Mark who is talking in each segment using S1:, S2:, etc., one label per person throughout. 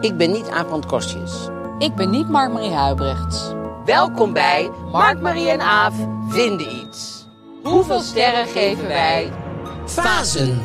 S1: Ik ben niet Aaf Kostjes.
S2: Ik ben niet Mark-Marie Huibrechts.
S1: Welkom bij Mark, Marie en Aaf vinden iets. Hoeveel sterren geven wij? Fasen.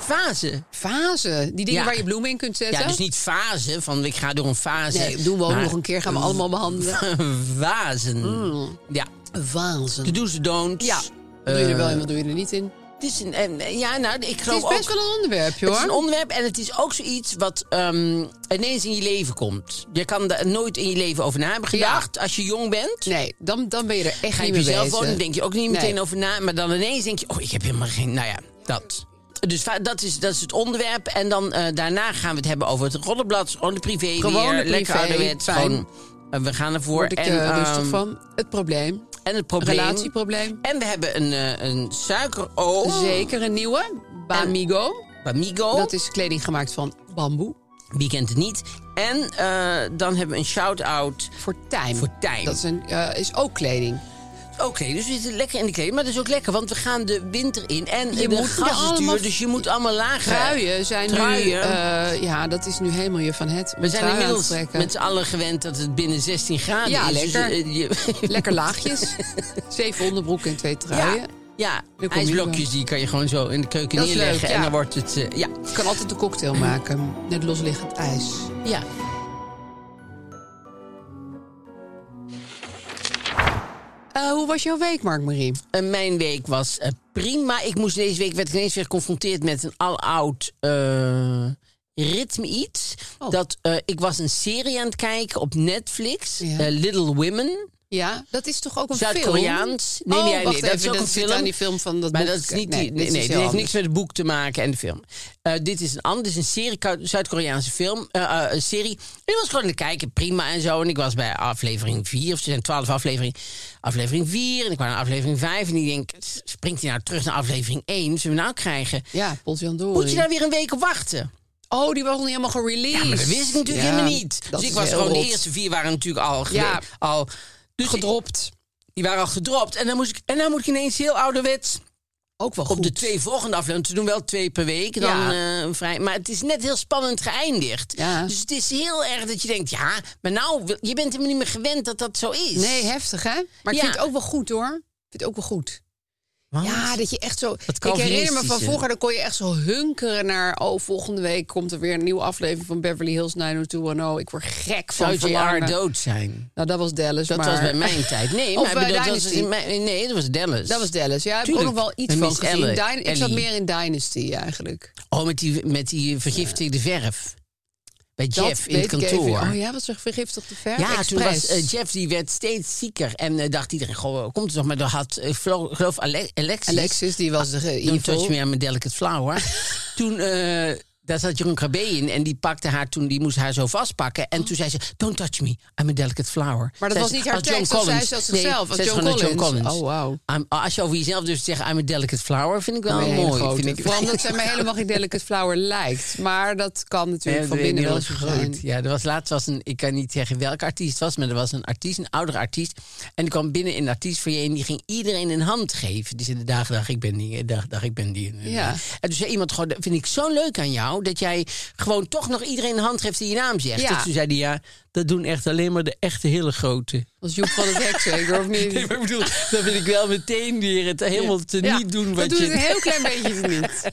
S1: Fase.
S2: Fase. Die dingen
S1: Ja.
S2: waar je bloemen in kunt zetten.
S1: Ja, dus niet fase van ik ga door een fase.
S2: Nee, doen we ook
S1: maar
S2: nog een keer. Gaan we allemaal behandelen.
S1: Wazen. Ja.
S2: Waanzin.
S1: De do's, de don'ts.
S2: Ja. Wat doe je er wel in, wat doe je er niet in?
S1: Eh, Het is een,
S2: eh,
S1: en- ja, nou, ik
S2: Het
S1: geloof
S2: is best
S1: ook,
S2: wel een onderwerpje
S1: Het is een
S2: hoor.
S1: onderwerp en het is ook zoiets wat ehm, ineens in je leven komt. Je kan daar nooit in je leven over na hebben
S2: Ja.
S1: gedacht. Als je jong bent,
S2: Nee, dan, dan ben je er echt
S1: ga je
S2: niet
S1: op
S2: mee
S1: jezelf
S2: bezig.
S1: wonen, denk je ook niet meteen
S2: Nee.
S1: over na. Maar dan ineens denk je, oh, ik heb helemaal geen... Nou ja, dat. Dus va- dat is, dat is het onderwerp. En dan eh, daarna gaan we het hebben over het roddelblad. Gewoon de privé
S2: Gewoon
S1: weer.
S2: de
S1: Lekker
S2: privé,
S1: ouderwets.
S2: fijn.
S1: Gewoon, eh, we gaan ervoor.
S2: Word ik
S1: en,
S2: er rustig
S1: ehm,
S2: van. Het probleem.
S1: En het probleem.
S2: Relatieprobleem.
S1: En we hebben een, eh, een suikeroom.
S2: Zeker een nieuwe. Bamigo.
S1: Bamigo.
S2: Dat is kleding gemaakt van bamboe.
S1: Wie kent het niet? En eh, dan hebben we een shout-out.
S2: Voor tijm.
S1: Voor tijm.
S2: Dat is, een, eh, is ook kleding.
S1: Oké, dus we zitten lekker in de kleding. Maar dat is ook lekker, want we gaan de winter in. En
S2: Je
S1: de
S2: moet
S1: gas
S2: er
S1: is
S2: allemaal-
S1: duur, dus je moet allemaal lager.
S2: Truien zijn nu...
S1: Truien.
S2: eh, ja, dat is nu helemaal je van het. om
S1: we zijn
S2: trui aan te
S1: inmiddels
S2: trekken.
S1: met z'n allen gewend dat het binnen 16 graden
S2: Ja,
S1: is. Dus,
S2: lekker.
S1: eh, je-
S2: Lekker laagjes. Zeven onderbroeken en twee truien.
S1: Ja, ja.
S2: Dan kom je
S1: ijsblokjes die kan je gewoon zo in de keuken
S2: Dat is
S1: neerleggen.
S2: leuk, ja.
S1: En dan wordt het... eh, ja.
S2: Je kan altijd een cocktail maken met losliggend ijs.
S1: ja.
S2: Eh, hoe was jouw week, Mark-Marie?
S1: Eh, mijn week was eh, prima. Ik moest deze week, werd ik ineens weer geconfronteerd met een aloud eh ritme iets.
S2: Oh.
S1: Dat, eh, ik was een serie aan het kijken op Netflix,
S2: Ja.
S1: eh, Little Women.
S2: Ja, dat is toch ook een film?
S1: Zuid-Koreaans. Nee,
S2: Oh,
S1: nee, nee,
S2: wacht
S1: dat
S2: even,
S1: is ook een
S2: zit
S1: film.
S2: aan die film van dat
S1: Maar
S2: boek.
S1: dat is niet die,
S2: dit
S1: nee,
S2: is
S1: nee, dit
S2: heel
S1: heeft
S2: anders.
S1: niks met het boek te maken en de film. Eh, dit is een ander, dit is een serie, Ko- Zuid-Koreaanse film, eh eh, een serie. En ik was gewoon aan het kijken, prima en zo. En ik was bij aflevering 4, of ze zijn 12 afleveringen. Aflevering 4, en ik kwam naar aflevering 5. En ik denk, s- springt hij nou terug naar aflevering 1? Zullen we nou krijgen?
S2: Ja, Potjandori.
S1: Moet je daar weer een week op wachten?
S2: Oh, die was nog niet helemaal gereleased.
S1: Ja, maar dat wist ik natuurlijk
S2: Ja,
S1: helemaal niet. Dus
S2: dat
S1: ik
S2: is
S1: was
S2: heel
S1: gewoon, de
S2: rot.
S1: eerste vier waren natuurlijk al, gede-
S2: Ja.
S1: al dus
S2: gedropt.
S1: Die waren al gedropt. En dan, moest ik, en dan moet ik ineens heel ouderwets
S2: Ook wel
S1: op
S2: goed.
S1: de twee volgende afleveringen. Ze doen wel twee per week. Dan,
S2: Ja.
S1: eh, vrij, maar het is net heel spannend geëindigd.
S2: Ja.
S1: Dus het is heel erg dat je denkt, ja, maar nou, wil- je bent helemaal niet meer gewend dat dat zo is.
S2: Nee, heftig hè? Maar
S1: Ja.
S2: ik vind het ook wel goed hoor. Ik vind het ook wel goed.
S1: Want-
S2: Ja, dat je echt zo... Ik herinner me van
S1: Calvinistische.
S2: vroeger, dan kon je echt zo hunkeren naar... oh, volgende week komt er weer een nieuwe aflevering van Beverly Hills 90210. Ik word gek van
S1: zou JR
S2: verlangen.
S1: dood zijn?
S2: Nou, dat was Dallas,
S1: Dat
S2: maar...
S1: was bij mijn tijd. Nee,
S2: Of
S1: maar ik
S2: bij
S1: bedoel, dat was
S2: Dynasty.
S1: in mijn, nee, dat was Dallas.
S2: Dat was Dallas, ja. Heb ik ook
S1: Tuurlijk.
S2: nog wel iets
S1: En
S2: van
S1: Miss
S2: gezien.
S1: Elle,
S2: Dyn- ik zat
S1: Ellie.
S2: meer in Dynasty eigenlijk.
S1: Oh, met die, met die vergiftigde verf. Bij
S2: Dat
S1: Jeff in
S2: weet
S1: het
S2: ik
S1: kantoor.
S2: even. Oh ja, wat zo'n vergiftigde verf.
S1: Ja, toen was
S2: Express.
S1: eh, Jeff die werd steeds zieker. En eh, dacht iedereen, goh, komt het nog? Maar dan had, eh, vlo- geloof Ale- Alexis...
S2: Alexis, die was eh, de
S1: Don't touch me,
S2: evil.
S1: I'm a delicate flower. toen, eh, daar zat Jeroen Krabbe in. En die pakte haar toen, die moest haar zo vastpakken. En toen zei ze, don't touch me, I'm a delicate flower.
S2: Maar dat
S1: Zei
S2: was
S1: ze,
S2: niet haar
S1: als John
S2: tekst, dat zei
S1: Collins.
S2: ze als zichzelf, als
S1: zei ze
S2: John
S1: gewoon als
S2: Collins. Oh, wauw.
S1: I'm- als je over jezelf dus zegt, I'm a delicate flower, vind ik wel
S2: Een hele
S1: Oh, mooi.
S2: grote.
S1: Vind ik,
S2: Vooral omdat zij mij helemaal geen delicate flower lijkt. Maar dat kan natuurlijk
S1: Ja,
S2: van
S1: dat weet
S2: binnen
S1: ik
S2: wel
S1: niet,
S2: zo
S1: dat was
S2: zijn.
S1: Eh, groot. Ja, er was laatst was een, ik kan niet zeggen welke artiest het was, maar er was een artiest, een oudere artiest. En die kwam binnen in de artiest voor je en die ging iedereen een hand Dus geven. Die zei: Dag, dag, ik ben die, dag, dag, ik ben die.
S2: Ja.
S1: En toen zei iemand: gewoon, Dat vind ik zo leuk aan jou. nou dat jij gewoon toch nog iedereen een hand geeft die je naam zegt?
S2: Ja.
S1: Dus toen zei hij, ja, dat doen echt alleen maar de echte hele grote.
S2: Als Joep van het Hek zeker, of niet?
S1: Nee, maar ik bedoel, dan vind ik wel meteen weer het helemaal te
S2: Ja,
S1: niet doen
S2: dat
S1: wat
S2: doet
S1: je...
S2: het een heel klein beetje te niet.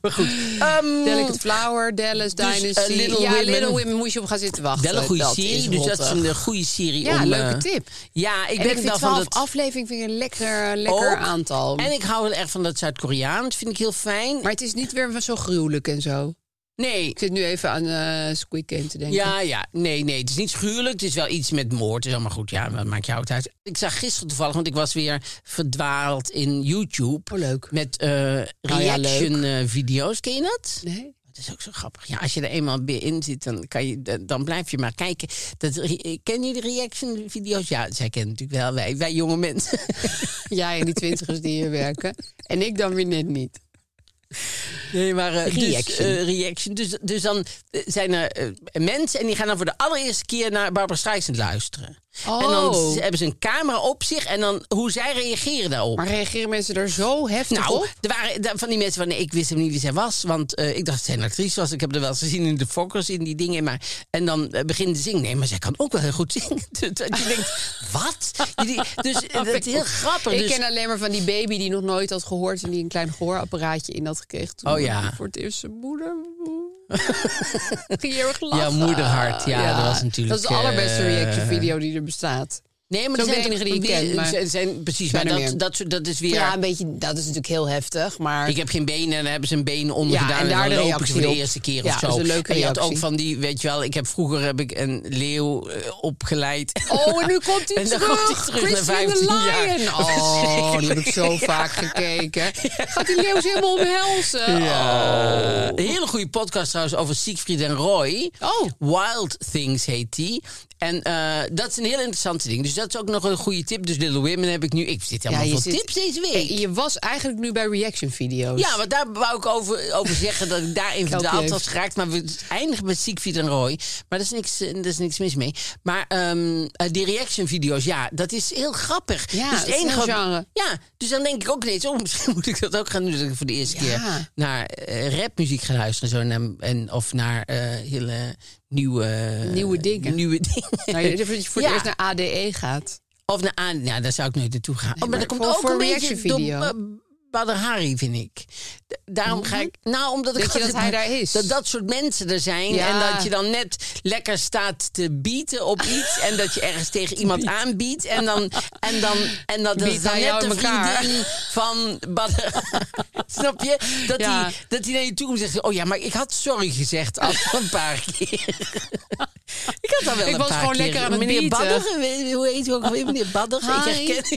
S1: Maar goed. Ehm,
S2: Delicate Flower, Dallas
S1: Dus, eh,
S2: Dynasty.
S1: Little
S2: ja,
S1: Women.
S2: Little Women moest je op gaan zitten wachten.
S1: wel een goede
S2: Dat
S1: serie,
S2: is
S1: dus dat is
S2: rottig.
S1: een goede serie
S2: Ja,
S1: om...
S2: leuke
S1: eh,
S2: tip.
S1: Ja, ik
S2: en
S1: ben
S2: ik vind
S1: wel van
S2: 12
S1: dat...
S2: afleveringen vind ik een lekker, lekker
S1: Ook.
S2: aantal.
S1: En ik hou wel erg van dat Zuid-Koreaans, vind ik heel fijn.
S2: Maar het is niet weer zo gruwelijk en zo.
S1: nee,
S2: Ik zit nu even aan eh, Squid Game te denken.
S1: Ja, ja. Nee, nee. Het is niet schuurlijk. Het is wel iets met moord. Het is allemaal goed. Ja, wat maakt jou het uit? Ik zag gisteren toevallig, want ik was weer verdwaald in YouTube.
S2: Oh, leuk.
S1: Met eh,
S2: Nou ja,
S1: reaction eh, video's. Ken je dat?
S2: Nee?
S1: Dat is ook zo grappig. Ja, als je er eenmaal weer in zit, dan, kan je, dan blijf je maar kijken. Dat, re- ken je de reaction video's? Ja, zij kennen natuurlijk wel. Wij, wij jonge mensen.
S2: Jij en die twintigers die hier werken. En ik dan weer net niet.
S1: Nee, maar eh, Dus,
S2: Reaction.
S1: eh, reaction. Dus, dus dan eh, zijn er eh, mensen en die gaan dan voor de allereerste keer naar Barbara Streisand luisteren.
S2: Oh.
S1: En dan s- hebben ze een camera op zich en dan hoe zij reageren daarop.
S2: Maar reageren mensen er zo heftig
S1: nou,
S2: op?
S1: er waren daar- van die mensen van nee, ik wist hem niet wie zij was. Want eh, ik dacht dat zij een actrice was. Ik heb er wel eens gezien in de fokkers, in die dingen. Maar, en dan eh, beginnen ze zingen. Nee, maar zij kan ook wel heel goed zingen. Dus dat je denkt, wat? Jullie- dus eh, dat is heel grappig.
S2: Ik
S1: Dus-
S2: ken alleen maar van die baby die nog nooit had gehoord... en die een klein gehoorapparaatje in had gekregen. Toen
S1: Oh ja.
S2: Voor het eerst zijn moeder. Ging heel erg lachen.
S1: Ja, moederhart. Ja, dat was natuurlijk,
S2: Dat is de allerbeste
S1: eh,
S2: reaction video die er bestaat.
S1: Nee, maar
S2: Zo'n
S1: er zijn
S2: enige
S1: toch-
S2: die ik ken, maar-
S1: zijn- zijn, precies, maar
S2: Bijna
S1: dat,
S2: meer.
S1: dat, soort- dat is weer...
S2: Ja, een beetje, dat is natuurlijk heel heftig, maar...
S1: Ik heb geen benen en dan hebben ze een been onder
S2: Ja,
S1: gedaan.
S2: en
S1: En,
S2: daar
S1: daar
S2: de
S1: dan lopen
S2: reactie
S1: ze voor de
S2: op.
S1: eerste keer
S2: Ja,
S1: of zo.
S2: dat is een leuke
S1: en je had ook
S2: reactie.
S1: van die, weet je wel, ik heb vroeger heb ik een leeuw eh, opgeleid.
S2: Oh, en nu komt hij
S1: En dan
S2: terug.
S1: komt hij terug
S2: Christian
S1: na 15
S2: the
S1: jaar.
S2: Lion. Oh, dat heb ik zo
S1: Ja.
S2: vaak gekeken. Gaat die leeuws helemaal omhelzen?
S1: Ja. Een hele goede podcast trouwens over Siegfried en Roy.
S2: Oh.
S1: Wild Things heet die. En eh, dat is een heel interessante ding. Dus dat is ook nog een goede tip. Dus Little Women heb ik nu. Ik zit helemaal
S2: je
S1: voor
S2: zit-
S1: tips deze
S2: Oh.
S1: week.
S2: Je was eigenlijk nu bij reaction video's.
S1: Ja, want daar wou ik over, over zeggen dat ik daarin
S2: Kelpie
S1: verdwaald
S2: heeft-
S1: was geraakt. Maar we eindigen met Siegfried en Roy. Maar daar is niks, eh, daar is niks mis mee. Maar ehm, eh, die reaction video's, ja, dat is heel grappig.
S2: Ja,
S1: dus
S2: het is een genre.
S1: Ja, dus dan denk ik ook ineens, oh, misschien moet ik dat ook gaan doen. Dat ik voor de eerste keer naar eh, rapmuziek ga luisteren. Zo, en, dan- en, of naar eh, hele nieuwe...
S2: Nieuwe dingen.
S1: Nieuwe dingen.
S2: Nou, je- dat je voor het
S1: Ja.
S2: eerst naar ADE gaat.
S1: Of naar aan, nou, daar zou ik nooit naartoe gaan. oh, maar
S2: maar
S1: dat komt
S2: voor-
S1: ook
S2: voor
S1: een
S2: reaction
S1: beetje door
S2: video.
S1: eh, Badr Hari, vind ik. D- daarom ga ik. Nou, omdat ik
S2: Mhm. Denk je
S1: altijd-
S2: dat hij daar is?
S1: Dat dat soort mensen er zijn
S2: Ja.
S1: en dat je dan net lekker staat te bieten op iets en dat je ergens tegen iemand aanbiedt en dan en dan en dat, dat
S2: Biedt
S1: is dan
S2: hij
S1: net
S2: jou
S1: de
S2: in elkaar?
S1: vriendin van Badr. Snap je? Dat
S2: Ja.
S1: hij dat hij naar je toe komt en zegt: oh ja, maar ik had sorry gezegd al een paar keer. ik had al wel
S2: Ik
S1: een
S2: was
S1: paar
S2: gewoon
S1: keer.
S2: lekker aan het
S1: Meneer
S2: bieten.
S1: Badr, we- hoe heet u ook weer? Meneer Badr, ik
S2: Hi.
S1: herken,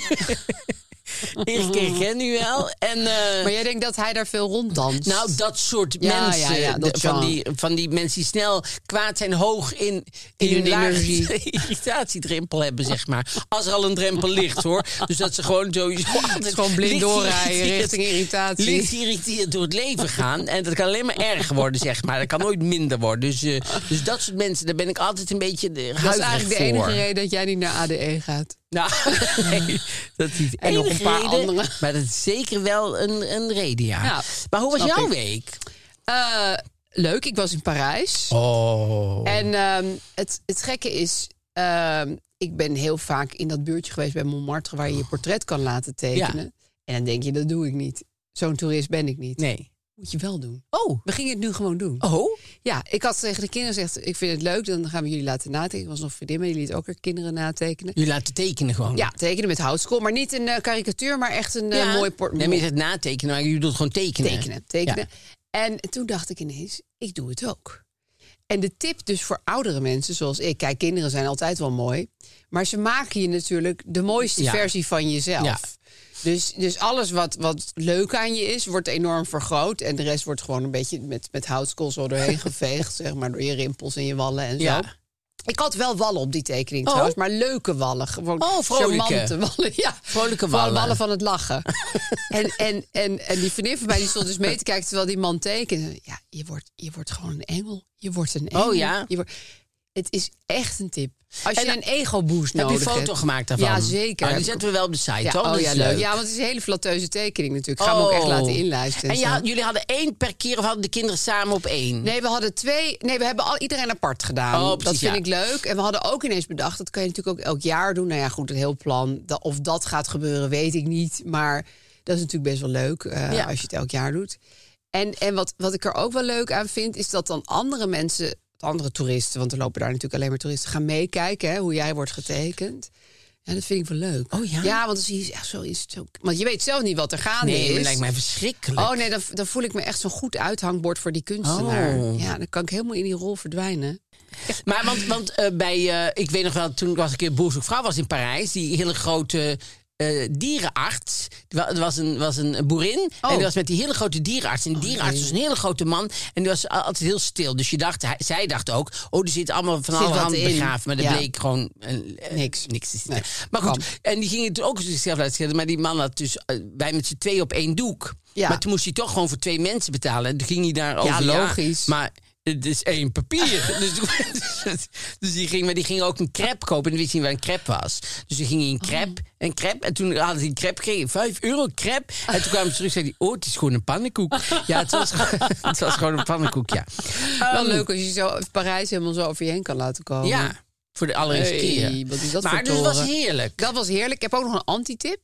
S1: ik herken u wel. En, eh,
S2: Maar jij denkt dat hij daar veel ronddanst?
S1: nou, dat soort
S2: Ja, ja,
S1: mensen.
S2: ja, dat
S1: de- van,
S2: genre.
S1: die, van die mensen die snel kwaad zijn, hoog in, in,
S2: hun
S1: hun lage
S2: energie.
S1: irritatiedrempel hebben, zeg maar. Als er al een drempel ligt, hoor. Dus dat ze gewoon sowieso altijd
S2: gewoon blind
S1: licht
S2: doorrijden
S1: geïrriteerd-
S2: richting irritatie.
S1: Licht geïrriteerd door het leven gaan. En dat kan alleen maar erger worden, zeg maar. Dat kan nooit minder worden. Dus, eh, dus dat soort mensen, daar ben ik altijd een beetje de
S2: dat is eigenlijk de
S1: voor.
S2: enige reden dat jij niet naar ADE gaat.
S1: Nou, nee, dat is niet de
S2: En nog een
S1: enige
S2: paar
S1: reden,
S2: andere.
S1: Maar dat is zeker wel een, een reden, ja.
S2: Ja,
S1: maar hoe was
S2: snap
S1: jouw
S2: ik.
S1: week?
S2: Eh, leuk, ik was in Parijs.
S1: Oh.
S2: En ehm, het, het gekke is, ehm, ik ben heel vaak in dat buurtje geweest bij Montmartre... waar je je portret kan laten tekenen. En dan denk je, dat doe ik niet. Zo'n toerist ben ik niet.
S1: Nee.
S2: Moet je wel doen.
S1: Oh.
S2: We gingen het nu gewoon doen.
S1: Oh?
S2: Ja, ik had tegen de kinderen gezegd, ik vind het leuk, dan gaan we jullie laten natekenen. Ik was nog een vriendin, maar die liet ook haar kinderen natekenen.
S1: Je laat het tekenen gewoon.
S2: Ja, tekenen met houtskool, maar niet een eh, karikatuur, maar echt een eh,
S1: Ja.
S2: mooi portret.
S1: Nee, maar je zegt natekenen, maar je doet gewoon tekenen.
S2: tekenen, tekenen. En toen dacht ik ineens, ik doe het ook. En de tip dus voor oudere mensen, zoals ik, kijk, kinderen zijn altijd wel mooi, maar ze maken je natuurlijk de mooiste
S1: Ja.
S2: versie van jezelf.
S1: Ja.
S2: Dus, dus alles wat, wat leuk aan je is, wordt enorm vergroot. En de rest wordt gewoon een beetje met, met houtskool zo doorheen geveegd, zeg maar, door je rimpels en je wallen en zo.
S1: Ja.
S2: Ik had wel wallen op die tekening
S1: Oh.
S2: trouwens, maar leuke wallen. Gewoon
S1: Oh, vrolijke.
S2: charmante wallen. Ja.
S1: Vrolijke
S2: Gewoon
S1: wallen.
S2: van het lachen. en, en, en, en die vriendin van mij die stond dus mee te kijken terwijl die man tekende. Ja, je wordt, je wordt gewoon een engel. Je wordt een engel.
S1: Oh, ja?
S2: Je wordt... Het is echt een tip. Als je
S1: En-
S2: een ego-boost
S1: Heb
S2: nodig
S1: je
S2: hebt.
S1: een foto gemaakt daarvan?
S2: Ja, zeker.
S1: Oh, die zetten we wel op de site,
S2: ja,
S1: toch?
S2: oh,
S1: Dat
S2: ja,
S1: is
S2: leuk. Ja, want het is een hele flatteuze tekening natuurlijk. Ik ga hem ook echt laten inluisteren.
S1: Oh. En
S2: en
S1: je
S2: zo.
S1: had- jullie hadden één per keer of hadden de kinderen samen op één?
S2: Nee, we hadden twee. Nee, we hebben al iedereen apart gedaan.
S1: Mm. Oh, precies,
S2: dat vind
S1: ja.
S2: ik leuk. En we hadden ook ineens bedacht. Dat kan je natuurlijk ook elk jaar doen. Nou ja, goed, het heel plan. da- Of dat gaat gebeuren, weet ik niet. Maar dat is natuurlijk best wel leuk eh,
S1: Ja.
S2: als je het elk jaar doet. En, en wat, wat ik er ook wel leuk aan vind, is dat dan andere mensen, andere toeristen, want er lopen daar natuurlijk alleen maar toeristen, gaan meekijken hè, hoe jij wordt getekend. Ja, dat vind ik wel leuk.
S1: Oh, ja?
S2: Ja, want dan zie je echt zo, is het zo. Want je weet zelf niet wat er gaande
S1: Nee,
S2: is.
S1: dat lijkt mij verschrikkelijk.
S2: Oh nee, dan, dan voel ik me echt zo'n goed uithangbord voor die kunstenaar.
S1: Oh.
S2: Ja, dan kan ik helemaal in die rol verdwijnen.
S1: Maar want, want eh, bij, eh, ik weet nog wel, toen was ik een keer boerzoekvrouw was in Parijs, die hele grote eh, dierenarts. Er wa- er was een, was een boerin
S2: Oh.
S1: en die was met die hele grote dierenarts. En die dierenarts was een hele grote man en die was al- altijd heel stil. Dus je dacht, hij- zij dacht ook, oh, er zit allemaal van
S2: Zit
S1: alle
S2: wat
S1: handen
S2: in.
S1: begraven. Maar dat
S2: Ja.
S1: bleek gewoon eh, eh,
S2: Niks.
S1: niks te zitten.
S2: Nee,
S1: Maar goed,
S2: kan.
S1: en die ging het ook zichzelf laten schilderen. Maar die man had dus, eh, wij met z'n twee op één doek.
S2: Ja.
S1: Maar toen moest hij toch gewoon voor twee mensen betalen. En toen ging hij daar over,
S2: logisch.
S1: maar het is één papier. dus, dus, die ging, maar die ging ook een crepe kopen. En die wist niet waar een crepe was. Dus die ging in een crepe. Een crepe. En toen hadden ze een crepe gekregen. Vijf euro crepe. En toen kwamen ze terug en zei die, oh, het is gewoon een pannenkoek. Ja, het was, gewoon- het was gewoon een pannenkoek, ja.
S2: Wel
S1: Ehm,
S2: Oh, leuk als je zo Parijs helemaal zo over je heen kan laten komen.
S1: Ja, voor de allereerste
S2: Hey,
S1: keer.
S2: wat is dat
S1: maar
S2: voor
S1: dus het was
S2: toren?
S1: heerlijk.
S2: Dat was heerlijk. Ik heb ook nog een anti-tip.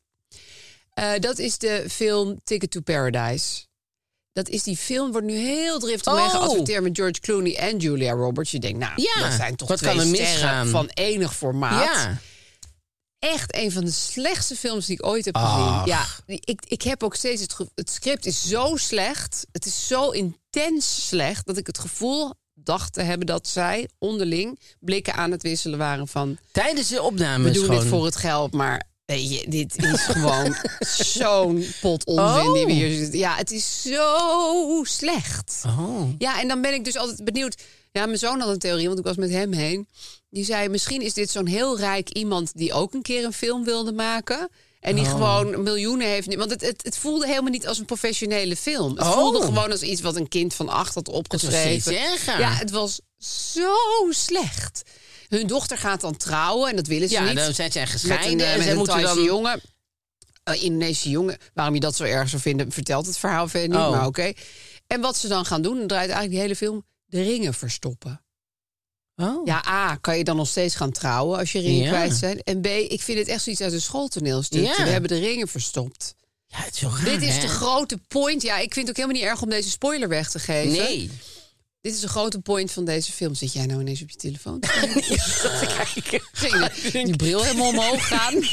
S2: Eh, dat is de film Ticket to Paradise. Dat is die film, wordt nu heel driftig mee
S1: Oh.
S2: geadverteerd met George Clooney en Julia Roberts. Je denkt, nou,
S1: Ja,
S2: dat zijn toch
S1: wat
S2: twee
S1: kan er
S2: sterren
S1: misgaan?
S2: van enig formaat.
S1: Ja.
S2: echt een van de slechtste films die ik ooit heb
S1: Ach.
S2: gezien. Ja, ik, ik heb ook steeds het gevoel... Het script is zo slecht. Het is zo intens slecht... dat ik het gevoel dacht te hebben dat zij onderling... blikken aan het wisselen waren van...
S1: Tijdens de opname
S2: we doen dit voor het geld, maar... weet je, dit is gewoon zo'n pot onzin die we hier zitten. Ja, het is zo slecht.
S1: Oh.
S2: Ja, en dan ben ik dus altijd benieuwd. Ja, mijn zoon had een theorie, want ik was met hem heen. Die zei, misschien is dit zo'n heel rijk iemand... die ook een keer een film wilde maken. En
S1: Oh.
S2: die gewoon miljoenen heeft. Want het, het, het voelde helemaal niet als een professionele film. Het
S1: Oh.
S2: voelde gewoon als iets wat een kind van acht had
S1: Het was
S2: opgeschreven.
S1: steeds erger.
S2: Ja, het was zo slecht. Hun dochter gaat dan trouwen en dat willen ze
S1: Ja,
S2: niet.
S1: dan zijn zij
S2: met
S1: gescheiden.
S2: een, eh,
S1: en
S2: met
S1: zij
S2: een
S1: moeten
S2: Thaise
S1: dan...
S2: jongen. Eh, Indonesische jongen. Waarom je dat zo erg zou vinden, vertelt het verhaal verder niet,
S1: Oh.
S2: maar oké. En wat ze dan gaan doen, dan draait eigenlijk die hele film de ringen verstoppen.
S1: Oh.
S2: Ja, A, kan je dan nog steeds gaan trouwen als je ringen
S1: Ja.
S2: kwijt zijn? En B, ik vind het echt zoiets uit een schooltoneelstuk.
S1: Ja.
S2: We hebben de ringen verstopt.
S1: Ja, het is zo raar,
S2: Dit is
S1: hè?
S2: de grote point. Ja, ik vind het ook helemaal niet erg om deze spoiler weg te geven.
S1: Nee.
S2: Dit is de grote point van deze film. Zit jij nou ineens op je telefoon? te kijken?
S1: zat te kijken.
S2: Ging die- die bril helemaal omhoog gaan?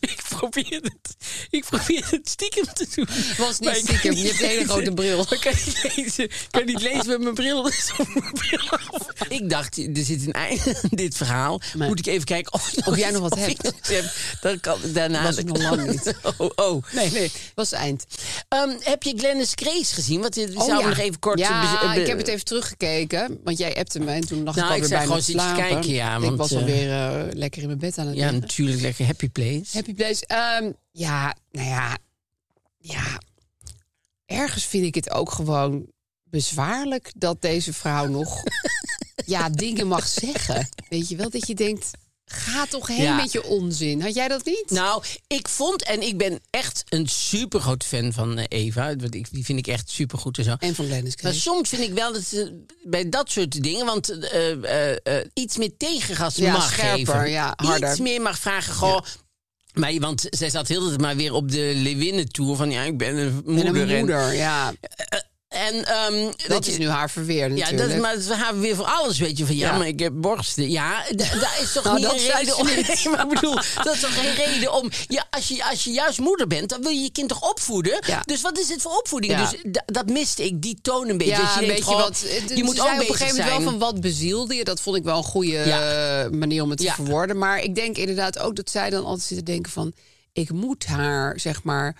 S1: Ik probeer het, ik probeer het stiekem te doen.
S2: Was niet
S1: Maar ik kan
S2: stiekem,
S1: niet
S2: je hebt een hele
S1: lezen.
S2: grote bril.
S1: Ik kan niet lezen, ik kan niet lezen met mijn bril. Dus op mijn bril af. Ik dacht, er zit een einde aan dit verhaal.
S2: Maar-
S1: Moet ik even kijken of,
S2: Of jij nog wat
S1: of ik
S2: hebt.
S1: nog iets heb. Dan kan, daarna
S2: Was het nog lang niet.
S1: Oh, oh.
S2: Nee, nee, was eind. Oh
S1: Ehm, heb je Glennis Grace gezien? Want we zouden nog even kort...
S2: Ja,
S1: eh, be-
S2: ik heb het even teruggekeken. Want jij appte me en toen dacht
S1: Nou,
S2: ik
S1: ik
S2: alweer
S1: zei
S2: bijna
S1: gewoon
S2: te
S1: zit je te
S2: slapen.
S1: kijken, ja,
S2: ik
S1: want,
S2: was
S1: eh,
S2: alweer eh, lekker in mijn bed aan het
S1: Ja,
S2: liggen.
S1: natuurlijk. Lekker happy place.
S2: Happy Place. Ehm, ja, nou ja. Ja. Ergens vind ik het ook gewoon bezwaarlijk dat deze vrouw nog ja, dingen mag zeggen. Weet je wel, dat je denkt, ga toch heen
S1: Ja.
S2: met je onzin. Had jij dat niet?
S1: Nou, ik vond en ik ben echt een super groot fan van eh, Eva. Want ik, die vind ik echt super goed en zo.
S2: en van Lennis
S1: Maar soms vind ik wel dat ze bij dat soort dingen, want eh, eh, eh, iets meer tegengas
S2: Ja,
S1: mag
S2: scherper,
S1: geven.
S2: ja, harder.
S1: Iets meer mag vragen, goh. Maar, je- want zij zat heel de tijd maar weer op de Lewinnen-tour van ja, ik ben een moeder.
S2: En een
S1: en-
S2: moeder, ja.
S1: En, ehm, dat,
S2: Dat
S1: je-
S2: is nu haar verweer
S1: Ja,
S2: natuurlijk.
S1: dat, maar dat gaan we weer voor alles, weet je. Van ja,
S2: Ja.
S1: maar ik heb borsten. Ja, d- daar is toch
S2: Nou,
S1: niet
S2: dat
S1: een
S2: zei
S1: reden
S2: ze
S1: om... Nee, maar ik bedoel, dat is toch geen reden om... Ja, als, je, als je juist moeder bent, dan wil je je kind toch opvoeden?
S2: Ja.
S1: Dus wat is het voor opvoeding?
S2: Ja.
S1: Dus d- dat miste ik, die toon een beetje.
S2: Ja,
S1: Dus je
S2: een
S1: denkt
S2: beetje
S1: gewoon,
S2: wat. het-
S1: je
S2: ze
S1: moet
S2: zei
S1: ook
S2: op een
S1: bezig
S2: gegeven moment
S1: zijn.
S2: wel van wat bezielde je. Dat vond ik wel een goede
S1: Ja.
S2: eh, manier om het te
S1: Ja.
S2: verwoorden. Maar ik denk inderdaad ook dat zij dan altijd zit te denken van... ik moet haar, zeg maar,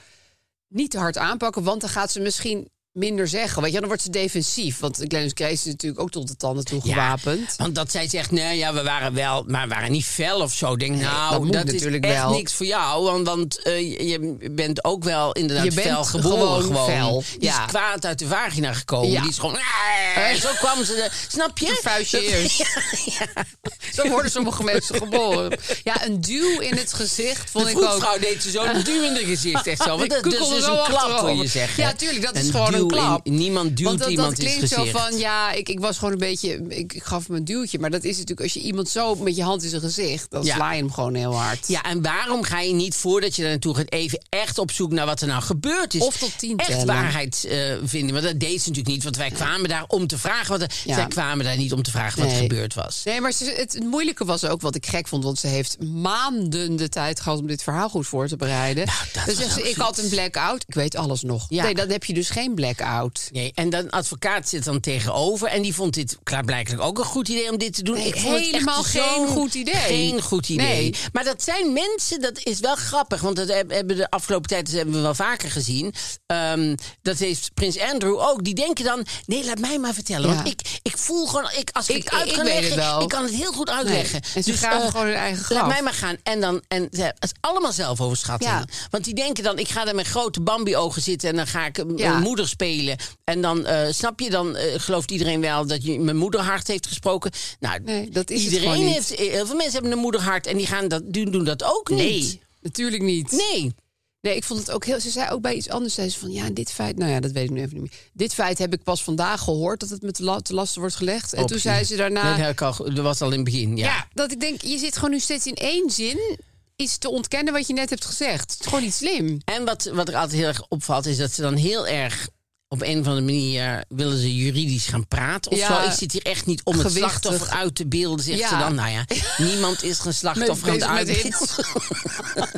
S2: niet te hard aanpakken... want dan gaat ze misschien minder zeggen. Weet je, dan wordt ze defensief. Want Glennis Grace is natuurlijk ook tot de tanden toe
S1: Ja, Oh,
S2: gewapend.
S1: want dat zij zegt, nee, ja, we waren wel, maar we waren niet fel of zo. Ik Denk, nou,
S2: dat
S1: dat,
S2: moet
S1: is
S2: natuurlijk
S1: echt
S2: wel.
S1: niks voor jou. Want, want eh, je- je bent ook wel inderdaad
S2: Je bent
S1: fel geboren.
S2: gewoon
S1: Gewoon,
S2: fel,
S1: Die
S2: ja.
S1: is kwaad uit de vagina gekomen.
S2: Ja.
S1: Die is gewoon... "Ah," Zo kwam ze, er- snap je?
S2: Een vuistje
S1: Dat-
S2: eerst. Zo worden sommige mensen geboren. Ja, een duw in het gezicht vond
S1: De
S2: ik ook...
S1: vroedvrouw deed ze zo'n duw in de gezicht. Echt zo.
S2: Die
S1: Want dat dus
S2: kukkel
S1: is
S2: er
S1: een
S2: wel
S1: klap,
S2: achterover.
S1: wil je zeggen.
S2: Ja, tuurlijk, dat is
S1: Een
S2: gewoon
S1: duw
S2: een
S1: in-
S2: klap.
S1: niemand duwt
S2: Want dat,
S1: iemand
S2: dat
S1: in het
S2: klinkt zo
S1: gezicht.
S2: van, ja, ik, ik was gewoon een beetje... Ik, ik gaf hem een duwtje. Maar dat is natuurlijk, als je iemand zo met je hand in zijn gezicht... dan
S1: Ja.
S2: sla je hem gewoon heel hard.
S1: Ja, en waarom ga je niet voordat je daar naartoe gaat even echt op zoek naar wat er nou gebeurd is?
S2: Of tot tien
S1: Echt
S2: tellen.
S1: waarheid eh, vinden. Want dat deed ze natuurlijk niet, want wij kwamen daar om te vragen. Wat er,
S2: Ja.
S1: Zij kwamen daar niet om te vragen wat er
S2: Nee.
S1: gebeurd was.
S2: Nee, maar ze- het moeilijke was ook wat ik gek vond. Want ze heeft maanden de tijd gehad om dit verhaal goed voor te bereiden.
S1: Nou, dat
S2: dus
S1: was
S2: zegt ze,
S1: ook
S2: ik had een blackout. Ik weet alles nog.
S1: Ja.
S2: Nee, dan heb je dus geen blackout.
S1: Nee, en dan advocaat zit dan tegenover en die vond dit klaarblijkelijk ook een goed idee om dit te doen.
S2: Nee,
S1: vond het echt
S2: helemaal geen
S1: zo'n-
S2: goed idee.
S1: Geen goed idee.
S2: Nee.
S1: Maar dat zijn mensen, dat is wel grappig, want dat heb- hebben de afgelopen tijd dat hebben we wel vaker gezien. Ehm, dat heeft prins Andrew ook. Die denken dan, nee, laat mij maar vertellen,
S2: Ja.
S1: want ik, ik voel gewoon, ik, als ik,
S2: Ik-
S1: het uit
S2: ik
S1: kan
S2: weet het
S1: leggen,
S2: wel.
S1: ik kan het heel goed uitleggen.
S2: Nee. En ze graven
S1: eh,
S2: gewoon hun eigen graf.
S1: Laat mij maar gaan. En dan, en ze- het is allemaal zelf overschatten.
S2: Ja.
S1: Want die denken dan, ik ga daar met grote Bambi-ogen zitten en dan ga ik een
S2: Ja.
S1: een moeder spelen. En dan, eh, snap je, dan eh, gelooft iedereen wel dat je mijn moederhart heeft gesproken. Nou,
S2: Nee, dat is het
S1: iedereen
S2: gewoon niet.
S1: heeft, eh, heel veel mensen hebben een moederhart en die gaan dat, doen, doen dat ook niet.
S2: Nee, natuurlijk niet.
S1: Nee.
S2: Nee, ik vond het ook heel. Ze zei ook bij iets anders. Zei ze van ja, dit feit. Nou ja, dat weet ik nu even niet meer. Dit feit heb ik pas vandaag gehoord dat het me te, la- te lasten wordt gelegd. En toen
S1: Optie.
S2: zei ze daarna.
S1: Dat, heb ik al, ge- dat was al in het begin, ja.
S2: ja. dat ik denk, je zit gewoon nu steeds in één zin iets te ontkennen wat je net hebt gezegd. Het is gewoon niet slim.
S1: En wat, wat er altijd heel erg opvalt, is dat ze dan heel erg... Op een of andere manier willen ze juridisch gaan praten of
S2: Ja.
S1: zo. Ik zit hier echt niet om het
S2: Gewichtig.
S1: slachtoffer uit te beelden, zegt
S2: Ja.
S1: ze dan. Nou ja, niemand is geen slachtoffer aan het
S2: bezig met
S1: uitbeelden.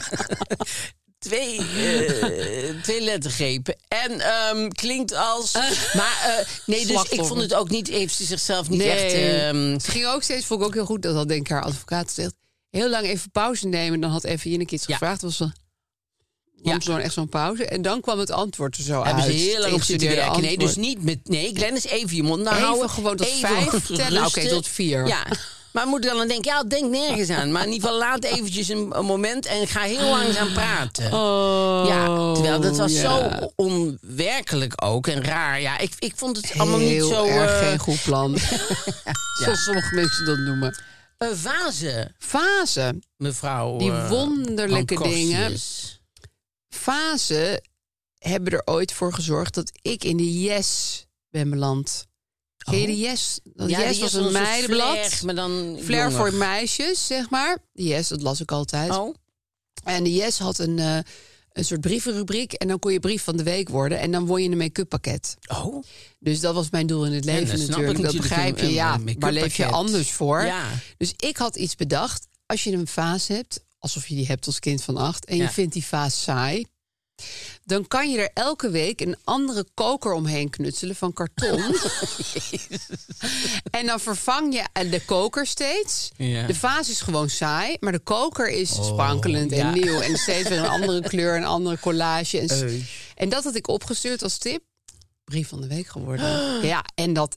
S1: twee, eh, twee lettergrepen. En ehm, klinkt als... Maar eh, nee, dus ik
S2: Slachtoffer.
S1: vond het ook niet... Heeft ze zichzelf niet
S2: Nee.
S1: echt... ehm,
S2: Ze ging ook steeds, vond ik ook heel goed, dat had denk ik haar advocaat zegt. Heel lang even pauze nemen. En dan had even Jinek iets
S1: Ja.
S2: gevraagd. Was ze,
S1: Ja.
S2: nam ze dan echt zo'n pauze. En dan kwam het antwoord er zo
S1: hebben
S2: uit.
S1: ze heel lang op zitten
S2: Ingestudeerde
S1: werken. Nee,
S2: antwoord.
S1: dus niet met... Nee, Glennis, even je mond nou
S2: Even
S1: houden.
S2: gewoon tot vijf tellen.
S1: rusten.
S2: Oké, tot vier.
S1: Ja. Maar moet ik dan aan denken, ja, denk nergens aan. Maar in ieder geval laat eventjes een, een moment en ga heel langzaam praten.
S2: Oh,
S1: ja, terwijl dat was
S2: ja.
S1: zo onwerkelijk ook en raar. Ja, ik, ik vond het allemaal niet
S2: Heel
S1: zo...
S2: erg
S1: eh,
S2: geen goed plan. Zoals sommige mensen dat noemen.
S1: eh, vazen,
S2: Fase.
S1: mevrouw.
S2: Die
S1: eh,
S2: wonderlijke
S1: Ancorsius.
S2: dingen. Fase hebben er ooit voor gezorgd dat ik in de Yes ben beland. Ken je Oh. de Yes? Dat
S1: Ja,
S2: yes
S1: die
S2: was
S1: heeft
S2: een
S1: zo'n
S2: meidenblad.
S1: flair, maar dan
S2: Flair
S1: jonger.
S2: voor meisjes, zeg maar. De Yes, dat las ik altijd.
S1: Oh.
S2: En de Yes had een, eh, een soort brievenrubriek. En dan kon je brief van de week worden. En dan won je een make-up pakket.
S1: Oh.
S2: Dus dat was mijn doel in het
S1: dat
S2: leven
S1: snap
S2: natuurlijk.
S1: ik
S2: Dat
S1: natuurlijk,
S2: begrijp
S1: een-
S2: je,
S1: een
S2: ja.
S1: make-up
S2: Waar leef je
S1: pakket.
S2: anders voor?
S1: Ja.
S2: Dus ik had iets bedacht. Als je een vaas hebt, alsof je die hebt als kind van acht... en
S1: Ja.
S2: je vindt die vaas saai... dan kan je er elke week een andere koker omheen knutselen van karton. en dan vervang je eh, de koker steeds.
S1: Ja. Oh,
S2: De vaas is gewoon saai, maar de koker is sprankelend
S1: ja.
S2: en nieuw... en steeds weer een andere kleur, een andere collage. En, s- en dat had ik opgestuurd als tip brief van de week geworden. Ja, en dat,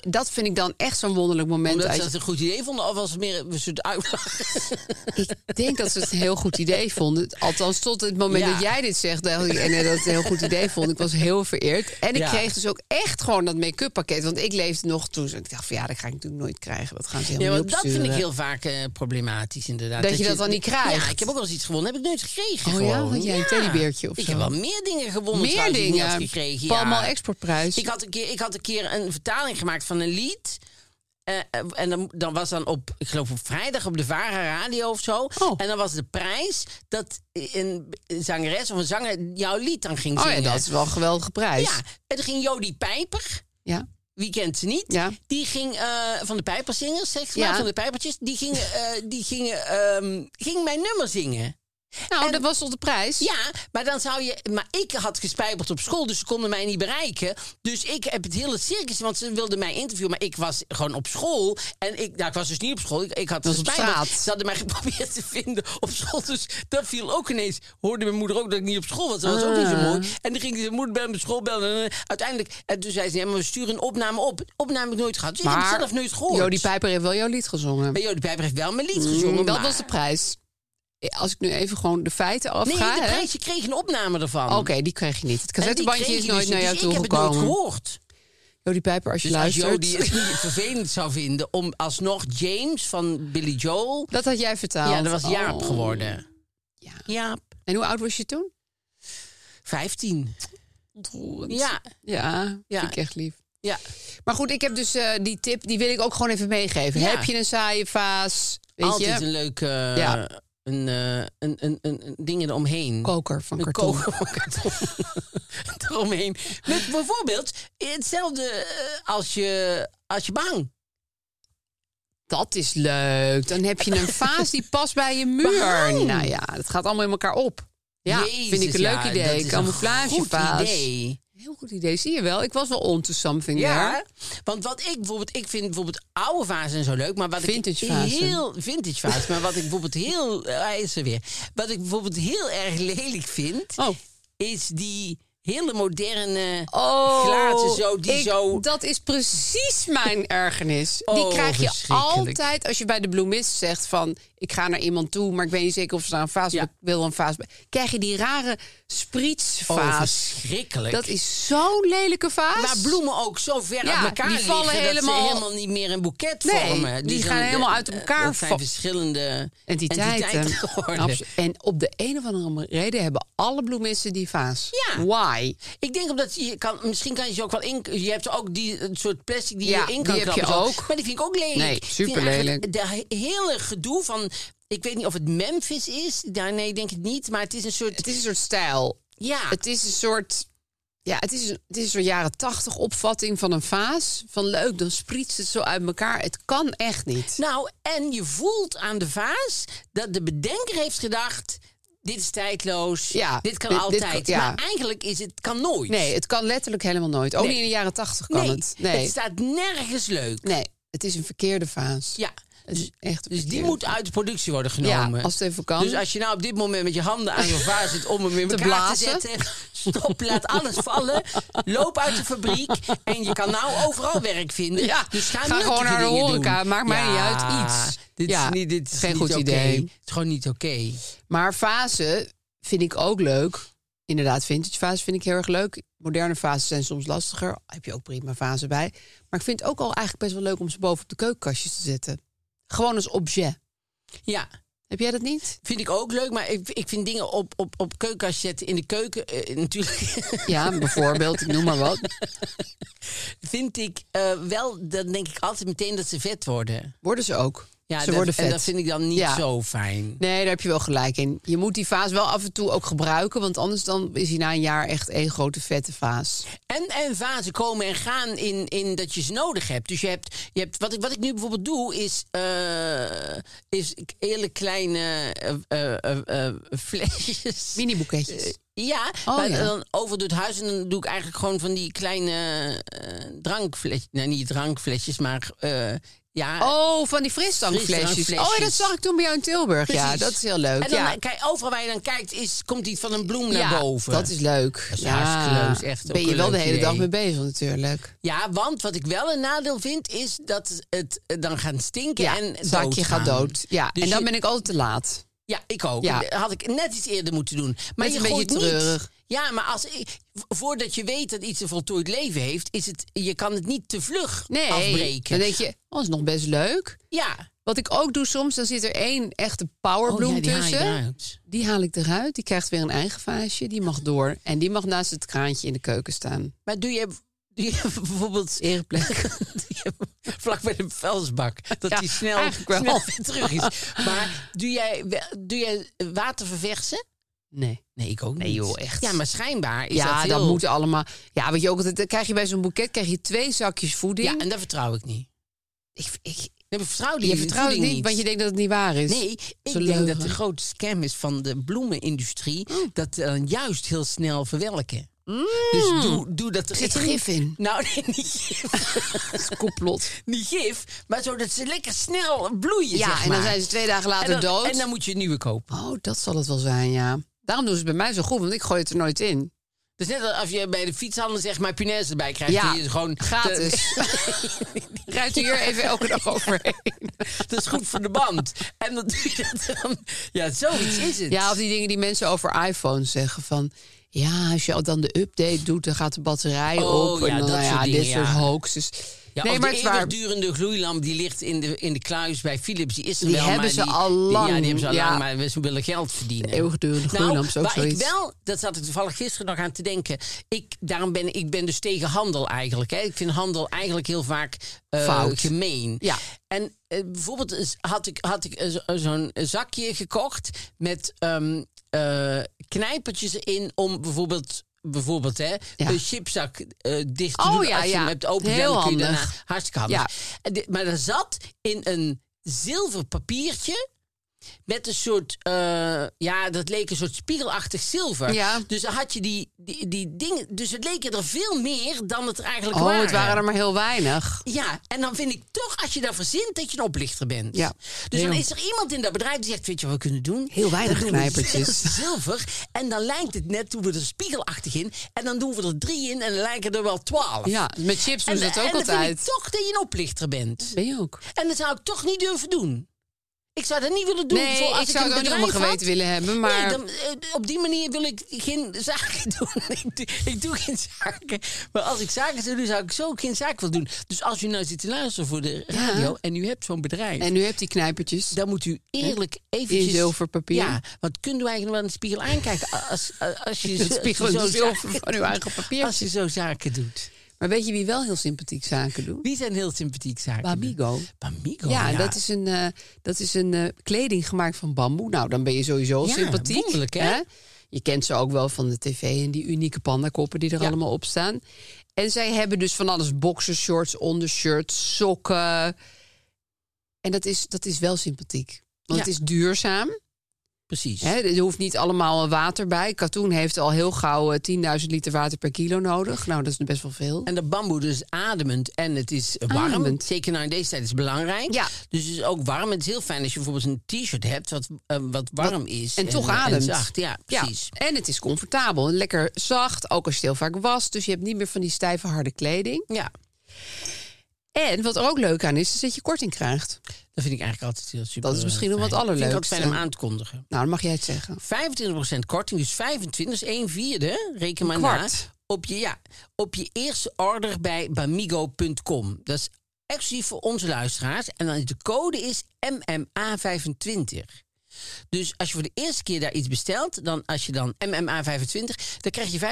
S2: dat vind ik dan echt zo'n wonderlijk moment.
S1: Omdat ze
S2: Als-
S1: dat een goed idee vonden, of was het meer een soort uitlachen?
S2: ik denk dat ze het een heel goed idee vonden. Althans, tot het moment
S1: Ja.
S2: dat jij dit zegt, dacht ik en eh, dat het een heel goed idee vond. Ik was heel vereerd. En ik
S1: Ja.
S2: kreeg dus ook echt gewoon dat make-up pakket. Want ik leefde nog toen. Ik dacht van ja, dat ga ik natuurlijk nooit krijgen. Dat gaan ze
S1: Ja,
S2: helemaal
S1: want
S2: niet
S1: dat vind ik
S2: opsturen.
S1: heel vaak eh, problematisch, inderdaad.
S2: Dat je dat dan niet krijgt.
S1: Ja, ik heb ook wel eens iets gewonnen, heb ik nooit gekregen.
S2: Oh ja?
S1: gewoon.
S2: Had jij een teddybeertje of
S1: Ik
S2: zo?
S1: heb wel meer dingen gewonnen
S2: Meer
S1: trouwens, die ik niet had
S2: dingen.
S1: gekregen. ja.
S2: Palmal Exportprijs. Oh
S1: Ik had, een keer, ik had een keer een vertaling gemaakt van een lied. Eh, eh, en dan, dan was dan op, ik geloof op vrijdag op de Vara Radio of zo.
S2: Oh.
S1: En dan was de prijs dat een zangeres of een zanger jouw lied dan ging
S2: oh
S1: zingen.
S2: ja, dat is wel een geweldige prijs.
S1: Ja, en toen ging Jodie Pijper,
S2: ja.
S1: wie kent ze niet,
S2: Ja.
S1: die ging eh, van de Pijperzingers, zeg maar,
S2: Ja.
S1: van de Pijpertjes, die, gingen, eh, die gingen, ehm, ging mijn nummer zingen.
S2: Nou, dat was toch de prijs?
S1: Ja, maar dan zou je. Maar ik had gespijbeld op school, dus ze konden mij niet bereiken. Dus ik heb het hele circus, want ze wilden mij interviewen, maar ik was gewoon op school. En ik, nou, ik was dus niet op school. Ik, ik had
S2: was op
S1: gespijbeld.
S2: straat.
S1: Ze hadden mij geprobeerd te vinden op school. Dus dat viel ook ineens. Hoorde mijn moeder ook dat ik niet op school was. Dat was ook niet zo
S2: Ah.
S1: mooi. En toen ging ze moeder bellen, mijn school bellen. En eh, uiteindelijk, en toen zei ze: ja, maar we sturen een opname op. Opname heb ik nooit gehad. Dus ik heb het zelf nooit gehoord.
S2: Jodie Pijper heeft wel jouw lied gezongen.
S1: Maar Jodie Pijper heeft wel mijn lied gezongen.
S2: Mm, dat
S1: maar-
S2: was de prijs. Als ik nu even gewoon de feiten
S1: Nee,
S2: afga.
S1: de
S2: hè?
S1: prijs, je kreeg een opname ervan.
S2: Oké, die kreeg je niet. Het
S1: En die
S2: cassettebandje
S1: kreeg
S2: is
S1: je
S2: nooit
S1: dus
S2: naar
S1: niet,
S2: jou
S1: dus ik heb het nooit
S2: toegekomen.
S1: gehoord.
S2: Jodie Pijper, als je
S1: Dus als
S2: luistert.
S1: Jodie het niet vervelend zou vinden om alsnog James van Billy Joel...
S2: Dat had jij vertaald.
S1: Ja, dat was Jaap
S2: Oh.
S1: geworden.
S2: Ja.
S1: Jaap,
S2: En hoe oud was je toen?
S1: 15.
S2: Ontroerend.
S1: Ja,
S2: Ja,
S1: Ja.
S2: vind ik echt lief.
S1: ja.
S2: Maar goed, ik heb dus eh, die tip, die wil ik ook gewoon even meegeven.
S1: Ja.
S2: Heb je een saaie vaas? Weet
S1: altijd
S2: je?
S1: een leuke...
S2: Ja.
S1: Een, eh, een, een, een, een ding eromheen.
S2: koker van
S1: Een
S2: karton.
S1: koker van karton. Eromheen. Met bijvoorbeeld hetzelfde eh, als je, als je behang.
S2: Dat is leuk. Dan heb je een vaas die past bij je muur.
S1: Behang.
S2: Nou ja, dat gaat allemaal in elkaar op. Ja,
S1: Jezus,
S2: vind ik een leuk
S1: ja, dat is
S2: idee.
S1: een
S2: Camouflagevaas.
S1: Goed idee.
S2: Heel goed idee. Zie je wel, ik was wel onto something
S1: Ja,
S2: there.
S1: want wat ik bijvoorbeeld, ik vind bijvoorbeeld oude vazen zo leuk, maar wat
S2: Vintage
S1: ik
S2: vazen.
S1: heel vintage vaas, maar wat ik bijvoorbeeld heel, eh, hij is er weer, wat ik bijvoorbeeld heel erg lelijk vind,
S2: Oh.
S1: is die hele moderne
S2: Oh,
S1: glazen zo die
S2: ik-
S1: zo.
S2: dat is precies mijn ergernis. die
S1: Oh,
S2: krijg je
S1: verschrikkelijk.
S2: altijd als je bij de bloemist zegt van... ik ga naar iemand toe, maar ik weet niet zeker of ze daar een vaas...
S1: Ja.
S2: Ik wil een vaas bij. Krijg je die rare
S1: oh,
S2: sprietsvaas.
S1: verschrikkelijk.
S2: dat is zo'n lelijke vaas.
S1: Waar bloemen ook zo ver
S2: Ja,
S1: uit elkaar
S2: die vallen
S1: liggen dat
S2: helemaal-
S1: ze helemaal niet meer een boeket
S2: Nee,
S1: vormen.
S2: die gaan
S1: dan-
S2: helemaal uit elkaar
S1: Dat zijn
S2: va-
S1: verschillende
S2: Entiteiten.
S1: geworden.
S2: Abs- En op de een of andere reden hebben alle bloemisten die vaas.
S1: Ja.
S2: Why?
S1: Ik denk omdat je kan, misschien kan je ze ook wel in. Je hebt ook die een soort plastic die
S2: Ja,
S1: je in kan
S2: die heb je
S1: klappen, zo.
S2: ook.
S1: Maar die vind ik ook lelijk.
S2: Nee,
S1: Ik vind
S2: superlelijk.
S1: eigenlijk De hele gedoe van. Ik weet niet of het Memphis is. Daar, nee, ik denk het niet. Maar het is een soort.
S2: Het is een soort stijl.
S1: Ja,
S2: Het is een soort. Ja, het is, een- het is een soort jaren tachtig opvatting van een vaas. Van leuk, dan sprietst het zo uit elkaar. Het kan echt niet.
S1: nou, en je voelt aan de vaas dat de bedenker heeft gedacht. Dit is tijdloos.
S2: Ja,
S1: dit kan
S2: dit- dit kan-
S1: altijd.
S2: ja.
S1: Maar eigenlijk is het kan nooit.
S2: Nee, het kan letterlijk helemaal nooit. Ook
S1: Nee.
S2: niet in de jaren tachtig kan
S1: Nee,
S2: het. Nee.
S1: het staat nergens leuk.
S2: nee, het is een verkeerde vaas.
S1: Ja.
S2: Het is echt een
S1: Dus die
S2: verkeerde
S1: moet uit de productie worden
S2: Ja,
S1: genomen.
S2: als het even kan.
S1: Dus als je nou op dit moment met je handen aan je vaas zit om hem in
S2: Te
S1: elkaar
S2: blazen.
S1: te zetten, stop, laat alles vallen, loop uit de fabriek en je kan nou overal werk vinden.
S2: Ja,
S1: dus ga,
S2: ga
S1: nuttige
S2: gewoon naar de
S1: dingen
S2: horeca,
S1: doen.
S2: maakt mij niet uit, iets.
S1: Dit
S2: Ja,
S1: is niet, dit is
S2: geen
S1: niet
S2: goed
S1: oké.
S2: idee.
S1: Het is gewoon niet oké.
S2: Maar vazen vind ik ook leuk. Inderdaad, vintage vazen vind ik heel erg leuk. Moderne vazen zijn soms lastiger. Heb je ook prima vazen bij. Maar ik vind het ook al eigenlijk best wel leuk om ze boven op de keukenkastjes te zetten. Gewoon als objet.
S1: Ja,
S2: Heb jij dat niet?
S1: vind ik ook leuk, maar ik, ik vind dingen op, op, op keukenkastjes zetten in de keuken eh, natuurlijk.
S2: Ja, bijvoorbeeld, ik noem maar wat.
S1: vind ik eh, wel, dan denk ik altijd meteen dat ze vet worden.
S2: Worden ze ook.
S1: Ja,
S2: ze
S1: dat,
S2: worden vet.
S1: En dat vind ik dan niet
S2: Ja.
S1: zo fijn.
S2: Nee, daar heb je wel gelijk in. Je moet die vaas wel af en toe ook gebruiken. Want anders dan is hij na een jaar echt één grote vette vaas.
S1: En, en vazen komen en gaan in, in dat je ze nodig hebt. Dus je hebt, je hebt wat, ik, wat ik nu bijvoorbeeld doe, is, eh, is k- hele kleine eh, eh, eh, eh, flesjes.
S2: Mini
S1: Eh,
S2: boeketjes.
S1: Ja,
S2: Oh,
S1: maar
S2: ja.
S1: dan over door het huis en dan doe ik eigenlijk gewoon van die kleine eh, drankflesjes. Nou, niet drankflesjes, maar eh, ja.
S2: Oh, van die frisdrankflesjes. Oh, ja, dat
S1: Frisdrankflesjes.
S2: zag ik toen bij jou in Tilburg. Ja,
S1: precies.
S2: dat is heel leuk.
S1: En dan,
S2: ja.
S1: eh, kijk, overal waar je dan kijkt, is, komt iets van een bloem naar
S2: ja,
S1: boven.
S2: Dat is leuk.
S1: is hartstikke leuk. Is echt ook
S2: ben je
S1: een
S2: wel de
S1: leuk
S2: hele
S1: idee.
S2: dag mee bezig natuurlijk.
S1: Ja, want wat ik wel een nadeel vind, is dat het eh, dan gaat stinken
S2: Ja,
S1: en
S2: het
S1: dood
S2: zakje gaat dood. Ja,
S1: Dus
S2: en dan
S1: je-
S2: ben ik altijd te laat.
S1: Ja, ik ook.
S2: Ja.
S1: Had ik net iets eerder moeten doen. Maar
S2: Met
S1: je
S2: een beetje
S1: gooit
S2: treurig.
S1: Niet. Ja, maar als, ik- voordat je weet dat iets een voltooid leven heeft, is het, je kan het niet te vlug
S2: Nee,
S1: afbreken.
S2: dan denk Oh, je, oh, is nog best leuk.
S1: ja.
S2: Wat ik ook doe soms, dan zit er één echte powerbloem
S1: Oh, ja, die haal je
S2: tussen.
S1: eruit.
S2: Die haal ik eruit. Die krijgt weer een eigen vaasje. Die mag door. En die mag naast het kraantje in de keuken staan.
S1: Maar doe je, doe je bijvoorbeeld... Ereplek. vlak bij de vuilnisbak. Dat
S2: Ja,
S1: die snel,
S2: eigenlijk wel.
S1: snel weer terug is. Maar doe jij, wel- doe jij water verversen?
S2: Nee.
S1: Nee, ik ook niet.
S2: Nee, joh, echt.
S1: Ja, maar schijnbaar is
S2: ja,
S1: dat
S2: dat,
S1: heel...
S2: moet allemaal. Ja, weet je ook, dat krijg je bij zo'n boeket krijg je twee zakjes voeding.
S1: Ja, en dat vertrouw ik niet.
S2: ik, ik,
S1: Nee, maar vertrouwde
S2: Je vertrouwt het
S1: natuurlijk
S2: niet, want je denkt dat het niet waar is.
S1: Nee, ik
S2: Ze
S1: denk dat de
S2: leugen. Oh.
S1: grote scam is van de bloemenindustrie... dat ze dan juist heel snel verwelken. Dus doe, doe dat...
S2: Mm. Er zit gif in.
S1: Nou, nee, niet gif.
S2: Complot.
S1: niet gif, maar zodat ze lekker snel bloeien,
S2: Ja,
S1: zeg
S2: en dan
S1: maar.
S2: zijn ze twee dagen later
S1: en dan,
S2: dood.
S1: En dan moet je een nieuwe kopen.
S2: Oh, dat zal het wel zijn, ja. Daarom doen ze het bij mij zo goed, want ik gooi het er nooit in.
S1: Dus net als je bij de fietshandel zegt, maar punaise erbij krijgt.
S2: Ja,
S1: die is gewoon te-
S2: Gratis. Rijdt u hier even elke dag overheen.
S1: dat is goed voor de band. En dan doe je dat dan. Ja, zoiets is het.
S2: Ja, of die dingen die mensen over iPhones zeggen van... Ja, als je dan de update doet, dan gaat de batterij
S1: Oh,
S2: op.
S1: ja,
S2: en dan,
S1: dat
S2: nou
S1: soort
S2: ja,
S1: dingen,
S2: dit soort
S1: ja.
S2: hoaxes.
S1: Ja,
S2: nee,
S1: of
S2: maar
S1: de
S2: het is waar.
S1: eeuwigdurende gloeilamp die ligt in de, in de kluis bij Philips. Die is er
S2: Die
S1: wel,
S2: hebben
S1: maar
S2: ze
S1: die,
S2: al
S1: die-
S2: lang,
S1: ja, die hebben ze al
S2: ja.
S1: lang, maar ze willen geld verdienen.
S2: De eeuwigdurende
S1: nou,
S2: gloeilamp is ook
S1: waar
S2: zoiets.
S1: ik wel, dat zat ik toevallig gisteren nog aan te denken. Ik, daarom ben ik ben dus tegen handel eigenlijk. Hè. Ik vind handel eigenlijk heel vaak eh,
S2: Fout.
S1: gemeen.
S2: Ja.
S1: En eh, bijvoorbeeld eens had ik, had ik eh, zo- zo'n zakje gekocht met ehm, eh, knijpertjes erin om bijvoorbeeld... Bijvoorbeeld, hè,
S2: Ja.
S1: een chipzak eh, dicht te
S2: Oh,
S1: doen.
S2: ja,
S1: Als je
S2: ja.
S1: hem hebt open,
S2: Heel
S1: dan kun je daarna
S2: handig.
S1: Hartstikke handig.
S2: Ja.
S1: En dit- Maar er zat in een zilver papiertje. Met een soort, eh, ja, dat leek een soort spiegelachtig zilver.
S2: Ja.
S1: Dus dan had je die, die, die dingen. Dus het leken er veel meer dan het er eigenlijk
S2: Oh,
S1: waren.
S2: het waren er maar heel weinig.
S1: Ja, en dan vind ik toch, als je daar verzint, dat je een oplichter bent.
S2: Ja.
S1: Dus dan
S2: Heel.
S1: is er iemand in dat bedrijf die zegt, weet je wat we kunnen doen?
S2: Heel weinig
S1: Dan doen we
S2: knijpertjes.
S1: Zilver. En dan lijkt het net, doen we er spiegelachtig in. En dan doen we er drie in en dan lijken er wel twaalf.
S2: Ja, met chips doen ze dat ook
S1: en dan vind
S2: altijd.
S1: ik toch dat je een oplichter bent.
S2: Ben je ook?
S1: En dat zou ik toch niet durven doen. Ik zou dat niet willen doen.
S2: Nee,
S1: voor als
S2: ik zou
S1: een
S2: het ook niet
S1: bedrijf
S2: om geweten
S1: had.
S2: willen hebben, maar...
S1: Nee, dan, eh, op die manier wil ik geen zaken doen. ik, doe, ik doe geen zaken. Maar als ik zaken zou doen, zou ik zo geen zaken willen doen. Dus als u nou zit te luisteren voor de radio en u hebt zo'n bedrijf...
S2: En nu hebt die knijpertjes.
S1: dan moet u eerlijk eventjes...
S2: In zilverpapier.
S1: Ja, want kunt u eigenlijk wel in de spiegel aankijken als, als, als je
S2: Het
S1: zo-
S2: spiegelend
S1: zo
S2: zilver
S1: zaken-
S2: van uw eigen papiertje.
S1: Als je zo zaken doet.
S2: Maar weet je wie wel heel sympathiek zaken doet?
S1: Wie zijn heel sympathiek zaken?
S2: Bamigo.
S1: Bamigo,
S2: ja, dat is een, eh, dat is een eh, kleding gemaakt van bamboe. Nou, dan ben je sowieso
S1: Ja,
S2: sympathiek.
S1: wonderlijk, hè?
S2: Je kent ze ook wel van de tv en die unieke pandakoppen die er
S1: Ja.
S2: allemaal op staan. En zij hebben dus van alles: boxershorts, ondershirts, sokken. En dat is, dat is wel sympathiek. Want
S1: Ja.
S2: het is duurzaam.
S1: Precies.
S2: Hè? Er hoeft niet allemaal eh, water bij. Katoen heeft al heel gauw eh, 10.000 liter water per kilo nodig. Nou, dat is best wel veel.
S1: En dat bamboe dus ademend en het is warm.
S2: Ademend.
S1: Zeker nou in deze tijd is het belangrijk.
S2: Ja.
S1: Dus het is ook warm. Het is heel fijn als je bijvoorbeeld een t-shirt hebt wat, eh, wat warm is.
S2: En, toch ademt.
S1: zacht, ja, precies.
S2: Ja. En het is comfortabel en lekker zacht, ook als je het heel vaak wast. Dus je hebt niet meer van die stijve, harde kleding.
S1: Ja.
S2: En wat er ook leuk aan is, is dat je korting krijgt.
S1: dat vind ik eigenlijk altijd heel super.
S2: Dat is misschien
S1: eh,
S2: nog wat
S1: fijn. Vind ik ook
S2: allerleukste.
S1: fijn om aan te kondigen.
S2: Nou, dan mag jij het zeggen.
S1: 25% korting, dus 25 is 1 vierde, reken maar
S2: kwart.
S1: na, op je, ja, op je eerste order bij bamigo.com. Dat is exclusief voor onze luisteraars. En dan is de code is MMA25. Dus als je voor de eerste keer daar iets bestelt, dan als je dan MMA25, dan krijg je 25%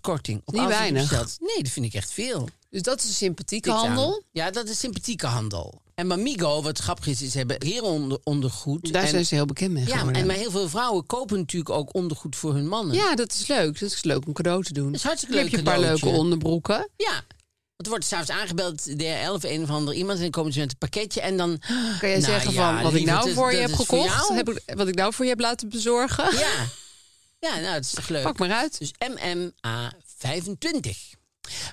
S1: korting. Op alles wat
S2: Niet
S1: je
S2: weinig.
S1: bestelt. Nee, dat vind ik echt veel.
S2: Dus dat is een sympathieke
S1: Niks aan.
S2: handel.
S1: Ja, dat is sympathieke handel. En Bamigo, wat grappig is, is ze hebben herenonder- ondergoed.
S2: Daar
S1: en,
S2: zijn ze heel bekend mee
S1: ja,
S2: geworden.
S1: en maar heel veel vrouwen kopen natuurlijk ook ondergoed voor hun mannen.
S2: Ja, dat is leuk. Dat is leuk om cadeau te doen.
S1: is hartstikke
S2: Dan
S1: leuk
S2: heb je een paar
S1: cadeautje.
S2: leuke onderbroeken.
S1: Ja. Want er wordt s'avonds aangebeld, DHL of een of ander iemand. En dan komen ze met een pakketje en dan...
S2: Kan jij
S1: Nou
S2: zeggen
S1: ja,
S2: van wat ik
S1: lieverd,
S2: nou
S1: dat-
S2: voor
S1: dat
S2: je heb
S1: is voor
S2: gekocht,
S1: jou.
S2: heb ik, wat ik nou voor je heb laten bezorgen?
S1: Ja. Ja, nou, dat is toch leuk.
S2: Pak maar uit.
S1: Dus MMA25.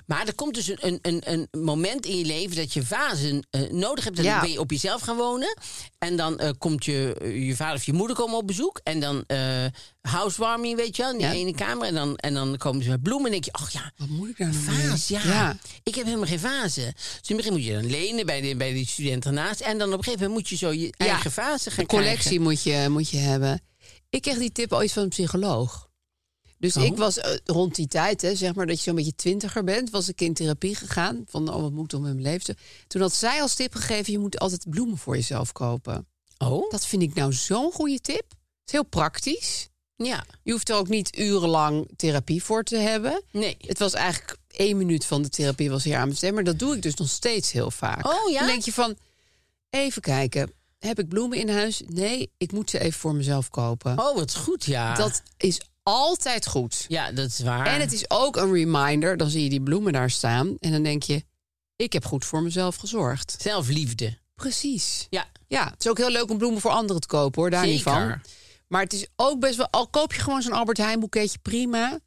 S1: Maar er komt dus een, een, een, een moment in je leven dat je vazen eh, nodig hebt. En
S2: Ja.
S1: dan ben je op jezelf gaan wonen. En dan eh, komt je, eh, je vader of je moeder komen op bezoek. En dan eh housewarming, weet je wel, in die
S2: Ja.
S1: ene kamer. En dan, en dan komen ze met bloemen. En denk je, ach ja,
S2: Wat moet ik nou nou mee?
S1: Vaas, ja.
S2: ja.
S1: Ik heb helemaal geen vazen. Dus in het begin moet je dan lenen bij, de, bij die student ernaast. En dan op een gegeven moment moet je zo je eigen vazen gaan
S2: Een collectie
S1: krijgen.
S2: moet je, moet je hebben. Ik kreeg die tip ooit van een psycholoog. Dus
S1: Oh.
S2: ik was eh, rond die tijd, hè, zeg maar dat je zo'n beetje twintiger bent, was ik in therapie gegaan. Van, oh, wat moet ik dan met mijn leven? doen? Toen had zij als tip gegeven, je moet altijd bloemen voor jezelf kopen.
S1: Oh?
S2: Dat vind ik nou zo'n goede tip. Het is heel praktisch.
S1: Ja.
S2: Je hoeft er ook niet urenlang therapie voor te hebben.
S1: Nee.
S2: Het was eigenlijk één minuut van de therapie was hier aan mijn stem. Maar dat doe ik dus nog steeds heel vaak.
S1: Oh, ja?
S2: Dan denk je van, even kijken. Heb ik bloemen in huis? Nee, ik moet ze even voor mezelf kopen.
S1: Oh, wat goed, ja.
S2: Dat is altijd goed.
S1: Ja, dat is waar.
S2: En het is ook een reminder. Dan zie je die bloemen daar staan. En dan denk je, ik heb goed voor mezelf gezorgd.
S1: Zelfliefde.
S2: Precies.
S1: Ja.
S2: Ja, het is ook heel leuk om bloemen voor anderen te kopen hoor, daar niet van.
S1: Zeker.
S2: Maar het is ook best wel, al koop je gewoon zo'n Albert Heijn boeketje, prima.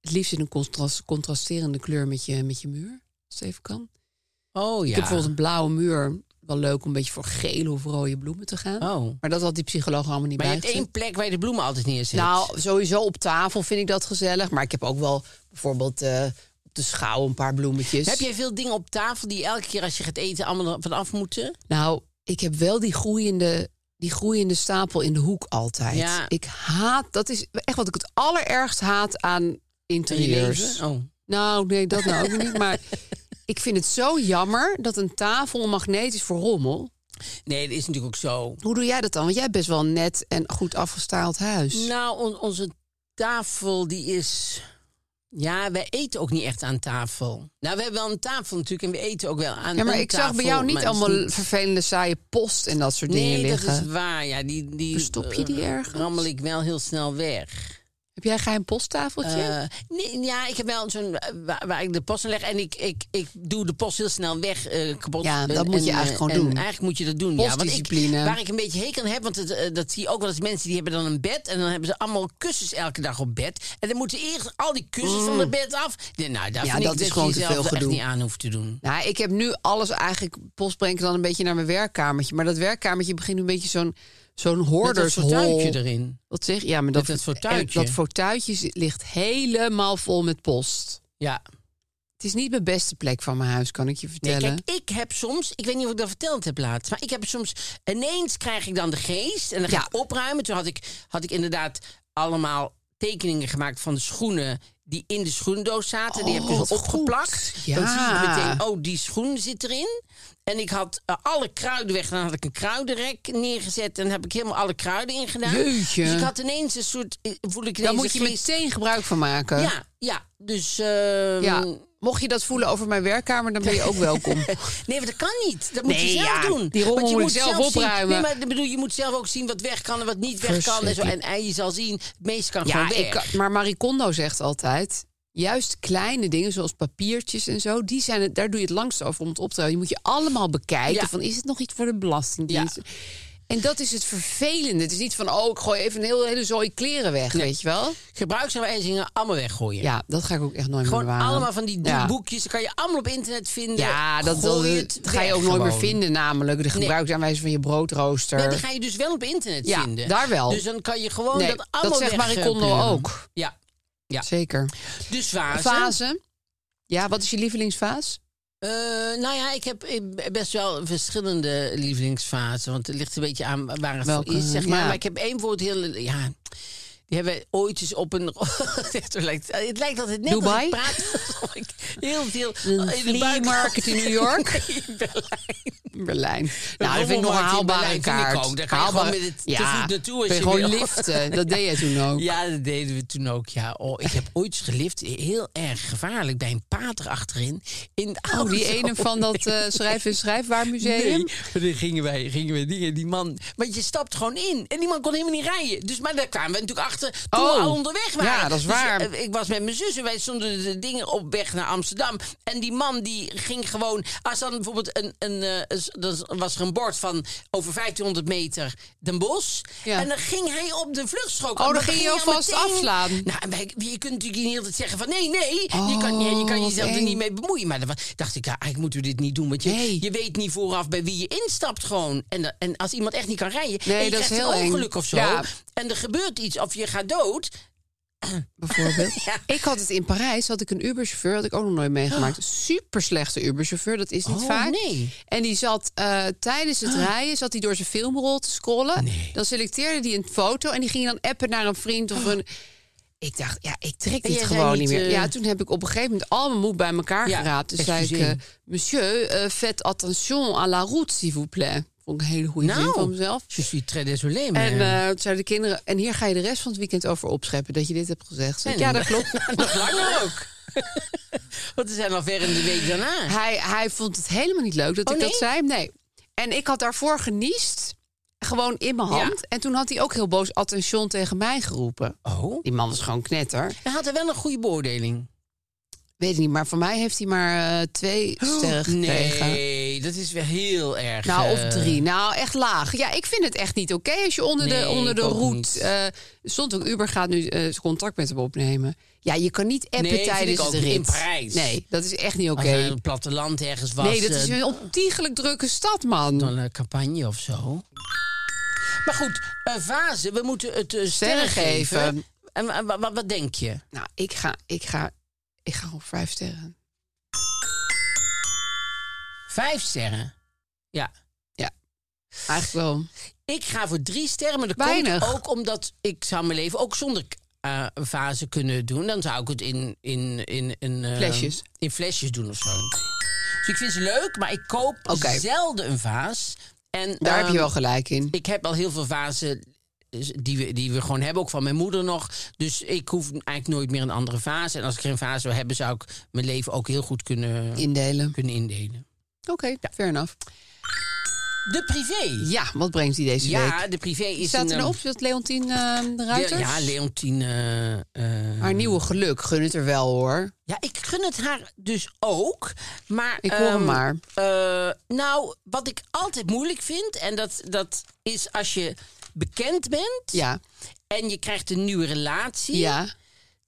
S2: Het liefst in een contrast, contrasterende kleur met je, met je muur, als het even kan.
S1: Oh ja.
S2: Ik heb bijvoorbeeld een blauwe muur, wel leuk om een beetje voor gele of rode bloemen te gaan.
S1: Oh.
S2: Maar dat had die psycholoog allemaal niet
S1: Maar je
S2: bij
S1: hebt één plek waar je de bloemen altijd Dus neerzet.
S2: Nou, sowieso op tafel vind ik dat gezellig. Maar ik heb ook wel bijvoorbeeld eh, op de schouw een paar bloemetjes.
S1: Heb jij veel dingen op tafel die elke keer als je gaat eten allemaal vanaf moeten?
S2: Nou, ik heb wel die groeiende, die groeiende stapel in de hoek altijd.
S1: Ja.
S2: Ik haat, dat is echt wat ik het allerergst haat aan
S1: Van je
S2: interieurs.
S1: leven? Oh.
S2: Nou, nee, dat nou ook niet. Maar ik vind het zo jammer dat een tafel een magneet is voor rommel.
S1: Nee, dat is natuurlijk ook zo.
S2: Hoe doe jij dat dan? Want jij hebt best wel een net en goed afgestaald huis.
S1: Nou, on- onze tafel die is... Ja, wij eten ook niet echt aan tafel. Nou, we hebben wel een tafel natuurlijk en we eten ook wel aan
S2: ja, maar
S1: een
S2: ik zag bij
S1: tafel,
S2: jou niet
S1: maar het is
S2: allemaal vervelende saaie post en dat soort dingen
S1: Nee,
S2: liggen.
S1: dat is waar. Ja, die, die
S2: Verstop je die
S1: eh,
S2: ergens?
S1: Rammel ik wel heel snel weg.
S2: Heb jij een geheim posttafeltje?
S1: Eh, nee, ja, ik heb wel zo'n eh, waar, waar ik de post in leg. En ik, ik, ik doe de post heel snel weg eh, kapot.
S2: Ja, dat
S1: En-
S2: moet je
S1: en,
S2: eigenlijk
S1: eh,
S2: gewoon
S1: en
S2: doen.
S1: Eigenlijk moet je dat doen. Ja, want ik,
S2: Postdiscipline.
S1: waar ik een beetje hekel aan heb, want het, eh, dat zie je ook wel eens mensen die hebben dan een bed. En dan hebben ze allemaal kussens elke dag op bed. En dan moeten eerst al die kussens van het bed af. Nee, nou, daar
S2: Mm. Ja,
S1: vind
S2: dat
S1: ik
S2: is
S1: je
S2: gewoon te
S1: jezelf
S2: veel
S1: er echt
S2: gedoe.
S1: niet aan hoeft te doen.
S2: Nou, ik heb nu alles eigenlijk post brengen dan een beetje naar mijn werkkamertje. Maar dat werkkamertje begint nu een beetje zo'n zo'n
S1: Met dat
S2: hoordershol.
S1: fortuintje erin.
S2: Wat zeg je? Ja, maar
S1: Met
S2: dat,
S1: dat fortuintje.
S2: en Dat fortuintje zit- ligt helemaal vol met post.
S1: Ja.
S2: Het is niet mijn beste plek van mijn huis, kan ik je
S1: Nee,
S2: vertellen.
S1: kijk, ik heb soms, ik weet niet of ik dat verteld heb laatst, maar ik heb soms, ineens krijg ik dan de geest en dan ga
S2: Ja.
S1: ik opruimen. Toen had ik, had ik inderdaad allemaal tekeningen gemaakt van de schoenen die in de schoendoos zaten. die heb ik
S2: Oh,
S1: dus
S2: wat
S1: opgeplakt.
S2: goed. Ja.
S1: Dan zie ik meteen, oh, die schoen zit erin. En ik had eh, alle kruiden weg. Dan had ik een kruidenrek neergezet en heb ik helemaal alle kruiden ingedaan.
S2: Jeutje.
S1: Dus ik had ineens een soort, eh, voel ik ineens
S2: Daar
S1: een
S2: moet je
S1: geest-
S2: meteen gebruik van maken.
S1: Ja, ja. Dus, ehm,
S2: Ja. Mocht je dat voelen over mijn werkkamer, dan ben je ook welkom.
S1: Nee, want dat kan niet. Dat moet
S2: Nee,
S1: je zelf
S2: ja,
S1: doen.
S2: die rommel
S1: Want je
S2: moet ik zelf
S1: zien-
S2: opruimen.
S1: nee, maar ik bedoel, je moet zelf ook zien wat weg kan en wat niet weg kan. En, zo. en,
S2: Verschrikkelijk.
S1: en je zal zien, het meeste kan
S2: Ja,
S1: gewoon weg.
S2: ik, kan- maar Marie Kondo zegt altijd... juist kleine dingen zoals papiertjes en zo... Die zijn het, daar doe je het langst over om het op te houden. Je moet je allemaal bekijken
S1: Ja.
S2: van... is het nog iets voor de belastingdienst? En dat is het vervelende. Het is niet van, oh, ik gooi even een hele, hele zooi kleren weg, weet je wel?
S1: Gebruiksaanwijzingen allemaal weggooien.
S2: Ja, dat ga ik ook echt nooit
S1: Gewoon
S2: meer bewaren.
S1: allemaal van die
S2: Ja.
S1: boekjes. Dat kan je allemaal op internet vinden.
S2: Ja, dat, dat,
S1: Gooi
S2: dat
S1: het
S2: ga je
S1: weg
S2: ook nooit meer
S1: gewoon.
S2: vinden namelijk. De gebruiksaanwijzing van je broodrooster.
S1: Nee, dat ga je dus wel op internet
S2: Ja,
S1: vinden.
S2: daar wel.
S1: Dus dan kan je gewoon
S2: Nee,
S1: dat allemaal
S2: zegt
S1: weg,
S2: Marie
S1: eh,
S2: Kondo
S1: pleuren.
S2: ook.
S1: Ja,
S2: Zeker.
S1: dus vazen.
S2: Fase. Ja, wat is je lievelingsvaas?
S1: Eh, nou ja, ik heb eh, best wel verschillende lievelingsfasen. Want het ligt een beetje aan waar het
S2: Welke,
S1: voor is, zeg maar.
S2: ja.
S1: Maar ik heb één voor het hele... Ja, die hebben wij ooit eens op een... het, lijkt, het lijkt altijd net als
S2: Dubai?
S1: ik praat. alsof ik heel veel in de
S2: flea market in New York? In Berlijn. Nou, dat vind ik nog een
S1: rommelmarkt in Berlijn
S2: haalbare
S1: vind ik
S2: kaart.
S1: ook. Daar kan je gewoon met het te voet naartoe als
S2: kun je
S1: je
S2: gewoon
S1: wil.
S2: liften. Dat deed jij toen ook.
S1: Ja, dat deden we toen ook, ja. Oh, ik heb ooit eens gelift, heel erg gevaarlijk, bij een pater achterin. In de
S2: Oh, die
S1: auto.
S2: ene van dat eh schrijf- en schrijfwaarmuseum.
S1: Nee, maar dan gingen wij, gingen wij die, die man... Want je stapt gewoon in. En die man kon helemaal niet rijden. Dus, maar daar kwamen we natuurlijk achter toen we
S2: Oh.
S1: al onderweg waren.
S2: Ja, dat is
S1: Dus,
S2: waar.
S1: eh, ik was met mijn zus en wij stonden de dingen op weg naar Amsterdam. En die man die ging gewoon... Als dan bijvoorbeeld een... een eh, s- dan was er een bord van over 1500 meter Den Bosch.
S2: Ja.
S1: En dan ging hij op de vluchtstrook.
S2: Oh, dan
S1: Maar
S2: ging je
S1: al
S2: alvast
S1: meteen-
S2: afslaan.
S1: Nou, en wij, je kunt natuurlijk niet altijd zeggen van... Nee, nee, je, kan, ja, je
S2: Oh,
S1: kan
S2: wat
S1: jezelf er
S2: eng.
S1: niet mee bemoeien. Maar dan wa- dacht ik, ja, eigenlijk moeten we dit niet doen. Want je,
S2: Nee.
S1: je weet niet vooraf bij wie je instapt gewoon. En, da- en als iemand echt niet kan rijden,
S2: Nee,
S1: en je
S2: dat is
S1: krijgt
S2: heel
S1: een
S2: eng.
S1: ongeluk of zo.
S2: Ja.
S1: En er gebeurt iets of je gaat dood.
S2: bijvoorbeeld. Ik had het in Parijs, had ik een Uberchauffeur, had ik ook nog nooit meegemaakt. Super slechte Uberchauffeur, dat is niet
S1: Ah. Oh,
S2: vaak.
S1: nee. Ah.
S2: En die zat eh, tijdens het rijden, zat hij door zijn filmrol te scrollen. Dan selecteerde hij een foto en die ging dan appen naar een vriend of een... Ik dacht, ja, ik trek
S1: Ah. En
S2: dit
S1: jij zei
S2: gewoon
S1: niet,
S2: niet meer.
S1: eh,
S2: Ja, toen heb ik op een gegeven moment al mijn moed bij elkaar
S1: Ja,
S2: geraapt. Toen
S1: echt
S2: zei ik,
S1: gezien.
S2: eh, monsieur, eh faites attention à la route, s'il vous plaît. Vond ik een hele goede
S1: Nou.
S2: zin van mezelf.
S1: je suis très désolé, maar...
S2: En eh, toen zeiden de kinderen, en hier ga je de rest van het weekend over opscheppen, dat je dit hebt gezegd. Zei ik,
S1: En-
S2: ja, dat klopt.
S1: nog langer ook. Want we zijn al ver in de week daarna.
S2: Hij, hij vond het helemaal niet leuk dat
S1: Oh,
S2: ik
S1: nee?
S2: dat zei. Nee. En ik had daarvoor geniest. Gewoon in mijn hand.
S1: Ja.
S2: En toen had hij ook heel boos attention tegen mij geroepen.
S1: Oh.
S2: Die man is gewoon knetter.
S1: Hij had er wel een goede beoordeling.
S2: Weet ik niet, maar van mij heeft hij maar eh, twee sterren gekregen.
S1: Oh, Nee, nee, dat is weer heel erg.
S2: Oh. Nou, of
S1: eh,
S2: drie. Nou, echt laag. Ja, ik vind het echt niet oké als je onder
S1: Nee,
S2: de, onder de
S1: ik ook
S2: roet...
S1: niet.
S2: eh stond ook Uber gaat nu eh, zijn contact met hem opnemen. Ja, je kan niet appen
S1: Nee, vind
S2: tijdens
S1: ik ook
S2: de
S1: niet.
S2: rit.
S1: In Parijs.
S2: Nee, dat is echt niet oké.
S1: eh, Als hij in het platteland ergens was.
S2: nee, dat is
S1: eh,
S2: een ontiegelijk drukke stad, man.
S1: dan een eh, campagne of zo. Maar goed, eh vazen, we moeten het eh, sterren
S2: Sterren
S1: geven.
S2: geven.
S1: En wa- wa- wa- wat denk je?
S2: Nou, ik ga, ik ga, ik ga op vijf sterren.
S1: Vijf sterren. Ja.
S2: Eigenlijk wel.
S1: Ik ga voor drie sterren, maar dat
S2: Weinig.
S1: komt ook omdat ik zou mijn leven ook zonder eh fase kunnen doen. Dan zou ik het in, in, in, in, eh,
S2: Flesjes.
S1: in flesjes doen of zo. Dus ik vind ze leuk, maar ik koop
S2: Oké.
S1: zelden een vaas. En,
S2: Daar heb
S1: ehm,
S2: je wel gelijk in.
S1: Ik heb al heel veel vazen eh, die we, die we gewoon hebben, ook van mijn moeder nog. Dus ik hoef eigenlijk nooit meer een andere vaas. En als ik er een vaas zou hebben, zou ik mijn leven ook heel goed kunnen,
S2: Indelen.
S1: kunnen indelen.
S2: Oké, fair enough.
S1: De privé.
S2: Ja, wat brengt hij deze week?
S1: Ja, de privé is
S2: Staat
S1: een...
S2: er
S1: ehm,
S2: nou op dat Leontien eh, de Ruiter?
S1: Ja, Leontine. eh, eh,
S2: Haar nieuwe geluk gun het er wel, hoor.
S1: ja, ik gun het haar dus ook. Maar,
S2: Ik hoor hem
S1: ehm,
S2: maar.
S1: eh, nou, wat ik altijd moeilijk vind, en dat, dat is als je bekend bent
S2: Ja,
S1: en je krijgt een nieuwe relatie,
S2: ja.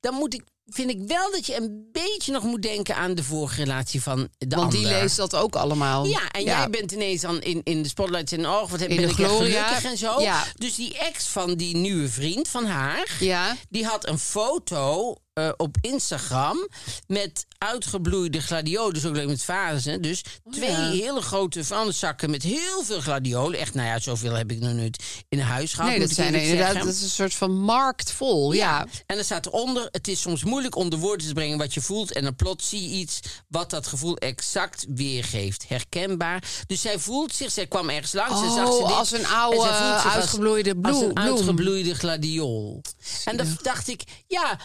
S1: dan moet ik, vind ik wel dat je een beetje nog moet denken aan de vorige relatie van de
S2: Want
S1: ander.
S2: die leest dat ook allemaal.
S1: Ja, en jij bent ineens dan in, in de spotlights en oh, wat heb,
S2: In
S1: ben
S2: de
S1: ik echt
S2: gloria.
S1: gelukkig en zo.
S2: Ja.
S1: Dus die ex van die nieuwe vriend van haar,
S2: Ja,
S1: die had een foto eh, op Instagram met uitgebloeide gladiolen, dus ook leuk met vazen. Dus twee
S2: Oh, ja.
S1: hele grote vuilniszakken met heel veel gladiolen. Echt, nou ja, zoveel heb ik nog nooit in huis gehad.
S2: nee,
S1: Ah, moet
S2: dat,
S1: ik
S2: zijn er
S1: eerlijk
S2: inderdaad,
S1: zeggen.
S2: dat is een soort van markt vol. Ja.
S1: En dan staat eronder, het is soms moeilijk om de woorden te brengen wat je voelt. En dan plots zie je iets wat dat gevoel exact weergeeft. Herkenbaar. Dus zij voelt zich, zij kwam ergens langs en
S2: Oh,
S1: zag ze dit.
S2: als een oude,
S1: en zij voelt zich als-
S2: uitgebloeide
S1: Als
S2: bloe-
S1: een
S2: bloem.
S1: uitgebloeide gladiool. En dan dacht ik, ja,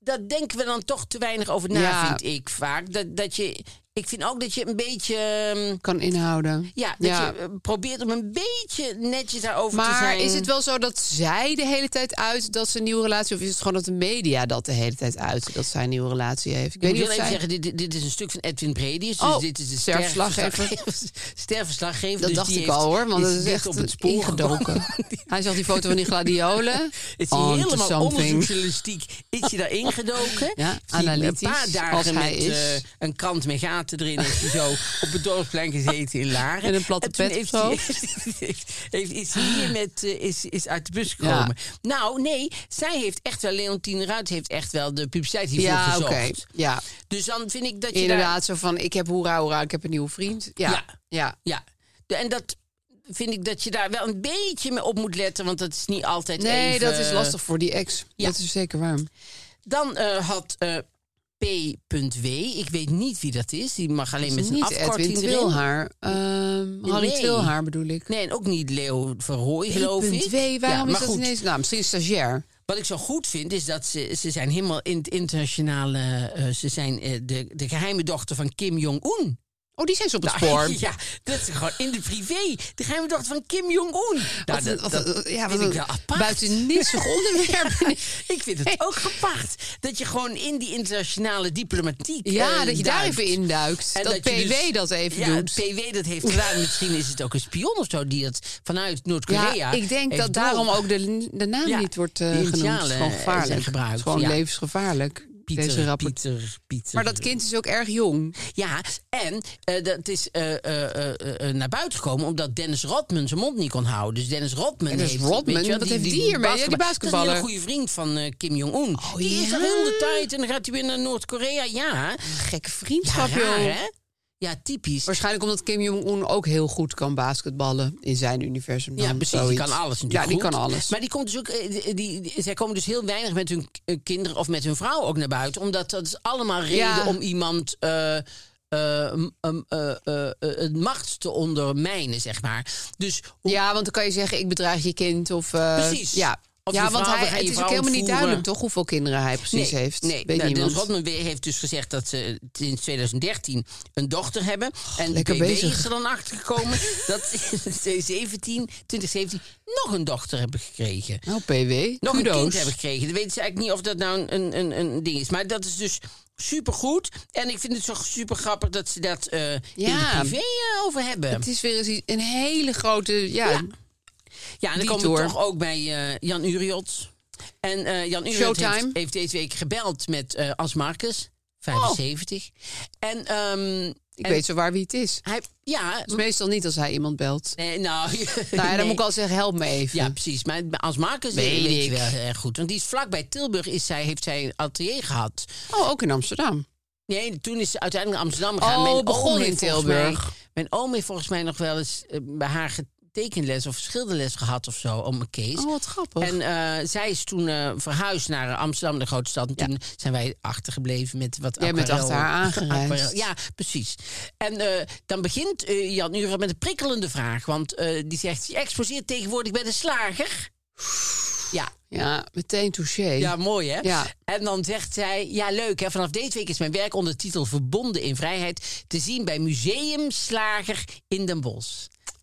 S1: daar denken we dan toch te weinig over na,
S2: Ja.
S1: vind ik vaak. Dat, dat je, ik vind ook dat je een beetje... ehm,
S2: Kan inhouden.
S1: Ja, dat je eh, probeert om een beetje netjes daarover te
S2: Maar
S1: zijn.
S2: is het wel zo dat zij de hele tijd uit dat ze een nieuwe relatie... of is het gewoon dat de media dat de hele tijd uit dat zij een nieuwe relatie heeft? Ik
S1: Ik
S2: weet
S1: wil
S2: niet of
S1: even
S2: zij...
S1: zeggen, dit, dit is een stuk van Edwin Bredius. Dus
S2: Oh,
S1: dit is de
S2: sterverslaggever.
S1: Sterverslaggever.
S2: Dat
S1: dus
S2: dacht
S1: die
S2: ik
S1: heeft-
S2: al hoor, want
S1: is
S2: dat is
S1: dit
S2: echt
S1: op het spoor
S2: ingedoken.
S1: gekomen.
S2: Hij zag die foto van die gladiolen. Oh,
S1: Het is
S2: On to
S1: helemaal
S2: something.
S1: onderzoeksjournalistiek. Is je daarin gedoken?
S2: Ja,
S1: Heeft hij
S2: analytisch,
S1: Een paar dagen
S2: als hij
S1: met
S2: is.
S1: eh, een krant met gaten erin. Heeft hij zo op het dorpsplein gezeten in Laren.
S2: En een platte
S1: toen
S2: pet
S1: heeft
S2: of zo.
S1: hij- heeft- heeft- heeft- Is hij hier met, eh, is, is uit de bus gekomen. Nou, nee, zij heeft echt wel, Leontine Ruit heeft echt wel de publiciteit hiervoor
S2: Ja, oké.
S1: gezocht.
S2: Ja,
S1: Dus dan vind ik dat je daar
S2: inderdaad. Zo van, ik heb hoera, hoera, ik heb een nieuwe vriend. Ja, ja.
S1: Ja. Ja, De- en dat vind ik dat je daar wel een beetje mee op moet letten, want dat is niet altijd
S2: Nee,
S1: even- eh,
S2: dat is lastig voor die ex.
S1: Ja.
S2: Dat is zeker waar.
S1: Dan eh, had eh, P.W., ik weet niet wie dat is, die mag alleen met een
S2: Niet Edwin
S1: afkorting erin.
S2: Twilhaar. Ehm Harry
S1: Nee.
S2: Twilhaar bedoel ik.
S1: Nee, en ook niet Leo Verhooy, geloof ik.
S2: 1.2, waarom
S1: Ja,
S2: is
S1: maar
S2: dat
S1: goed,
S2: ineens? Nou, misschien stagiair.
S1: Wat ik zo goed vind, is dat ze, ze zijn helemaal in het internationale... eh, ze zijn eh, de, de geheime dochter van Kim Jong-un.
S2: Oh, die zijn ze op het spoor.
S1: Nou, Ja, dat is gewoon in de privé. De geheime dochter van Kim Jong-un. Nou,
S2: Wat- wat- ja,
S1: vind
S2: wat
S1: ik wel
S2: een
S1: apart.
S2: buitennistig onderwerp.
S1: Ja, ik vind het ook apart. Dat je gewoon in die internationale diplomatiek.
S2: Ja,
S1: eh,
S2: dat je daar
S1: duikt.
S2: even induikt.
S1: En
S2: dat,
S1: je
S2: PW
S1: dus-
S2: dat even
S1: ja,
S2: doet.
S1: PW dat heeft gedaan. Misschien is het ook een spion of zo die dat vanuit Noord-Korea.
S2: Ja, ik denk
S1: heeft
S2: dat daarom
S1: door-
S2: ook de, de naam
S1: Ja,
S2: niet wordt eh,
S1: die
S2: genoemd. Het is
S1: initialen,
S2: gewoon
S1: eh,
S2: gevaarlijk.
S1: zijn gebruikt,
S2: Het is gewoon
S1: ja.
S2: levensgevaarlijk.
S1: Pieter,
S2: deze rapport.
S1: Pieter, Pieter.
S2: Maar dat kind is ook erg jong.
S1: Ja, en eh, dat is eh, eh, eh, eh, naar buiten gekomen omdat Dennis Rodman zijn mond niet kon houden. Dus Dennis Rodman
S2: Dennis
S1: heeft...
S2: Rodman,
S1: weet je wel,
S2: wat heeft die hiermee? Ja, die
S1: Dat is
S2: basketballer. Oh,
S1: een hele goede vriend van eh, Kim Jong-un. die is
S2: ja?
S1: er heel de tijd en dan gaat hij weer naar Noord-Korea. Ja,
S2: Gekke
S1: ja
S2: vriendschap,
S1: raar,
S2: joh.
S1: hè? Ja, typisch.
S2: Waarschijnlijk omdat Kim Jong-un ook heel goed kan basketballen in zijn universum.
S1: Ja,
S2: dan,
S1: precies. Die
S2: zoiets.
S1: kan alles natuurlijk
S2: Ja, die
S1: goed.
S2: kan alles.
S1: Maar die komt dus ook, eh, die, die- zij komen dus heel weinig met hun k- eh, kinderen of met hun vrouw ook naar buiten. Omdat dat is allemaal reden
S2: Ja.
S1: om iemand eh, eh, m- m- eh, eh, eh, het macht te ondermijnen, zeg maar. Dus hoe-
S2: Ja, want dan kan je zeggen, ik bedreig je kind. Of, eh,
S1: precies.
S2: Ja,
S1: Of
S2: ja,
S1: die
S2: want
S1: vrouw,
S2: hij,
S1: we gaan
S2: het
S1: je
S2: is
S1: vrouw
S2: ook helemaal niet
S1: ontvoeren.
S2: duidelijk toch hoeveel kinderen hij precies
S1: nee,
S2: heeft.
S1: Nee,
S2: Weet
S1: nou,
S2: niemand.
S1: Dennis Rodman heeft dus gezegd dat ze sinds 2013 een dochter hebben. En
S2: lekker
S1: BB
S2: bezig.
S1: is er dan achtergekomen dat ze in 2017, 2017 nog een dochter hebben gekregen.
S2: Nou, PW,
S1: Nog
S2: kudo's.
S1: een kind hebben gekregen. Dan weten ze eigenlijk niet of dat nou een, een, een, een ding is. Maar dat is dus supergoed. En ik vind het zo super grappig dat ze dat eh, in
S2: Ja.
S1: de privé eh, over hebben.
S2: Het is weer eens i- een hele grote... Ja,
S1: Ja, en dan
S2: Die
S1: komen we
S2: tour.
S1: toch ook bij eh, Jan Uriot. En eh, Jan Uriot
S2: Showtime. Oh.
S1: heeft, heeft deze week gebeld met eh As Marcus, 75. En, ehm,
S2: ik
S1: en
S2: weet zo waar wie het is.
S1: Hij, ja,
S2: Het is meestal niet als hij iemand belt.
S1: nee, nou...
S2: Nou ja, dan
S1: nee.
S2: moet ik al zeggen, help me even.
S1: Ja, precies. Maar As Marcus eh,
S2: Weet
S1: weet, je
S2: ik.
S1: wel heel erg goed. Want die is vlakbij Tilburg, is zij, heeft zij een atelier gehad.
S2: Oh, ook in Amsterdam.
S1: Nee, toen is ze uiteindelijk naar Amsterdam gegaan.
S2: Oh,
S1: oom
S2: begon in
S1: heeft volgens mij-
S2: Tilburg.
S1: mijn oom heeft volgens mij nog wel eens eh, bij haar getekenles of schilderles gehad of zo, om een case.
S2: Oh, wat grappig.
S1: En eh, zij is toen eh, verhuisd naar Amsterdam, de grote stad. En toen zijn wij achtergebleven met wat
S2: Jij bent
S1: aquarel-
S2: achter haar aangereisd.
S1: aquarel. Ja, precies. En eh, dan begint eh, Jan Uren met een prikkelende vraag. Want eh, die zegt, je exposeert tegenwoordig bij de slager. Ja,
S2: ja, meteen touché.
S1: ja, mooi hè?
S2: Ja.
S1: En dan zegt zij, ja leuk hè, vanaf deze week is mijn werk onder titel Verbonden in Vrijheid te zien bij Museum Slager in Den Bosch.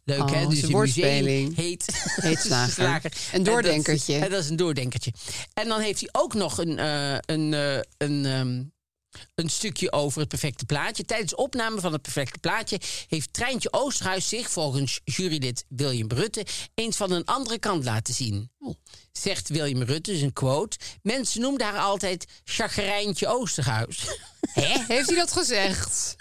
S1: Leuk
S2: Oh,
S1: hè?
S2: het is
S1: Dus
S2: een
S1: een museum
S2: woordspeling.
S1: heet,
S2: Heet Slager. Een doordenkertje.
S1: En dat, is, en dat is een doordenkertje. En dan heeft hij ook nog een, eh, een, eh, een ehm, een stukje over het perfecte plaatje. Tijdens de opname van het perfecte plaatje heeft Treintje Oosterhuis zich, volgens jurylid William Rutte, eens van een andere kant laten zien.
S2: Oh.
S1: Zegt William Rutte, is een quote. Mensen noemden haar altijd Chagrijntje Oosterhuis.
S2: Hè? Heeft hij dat gezegd?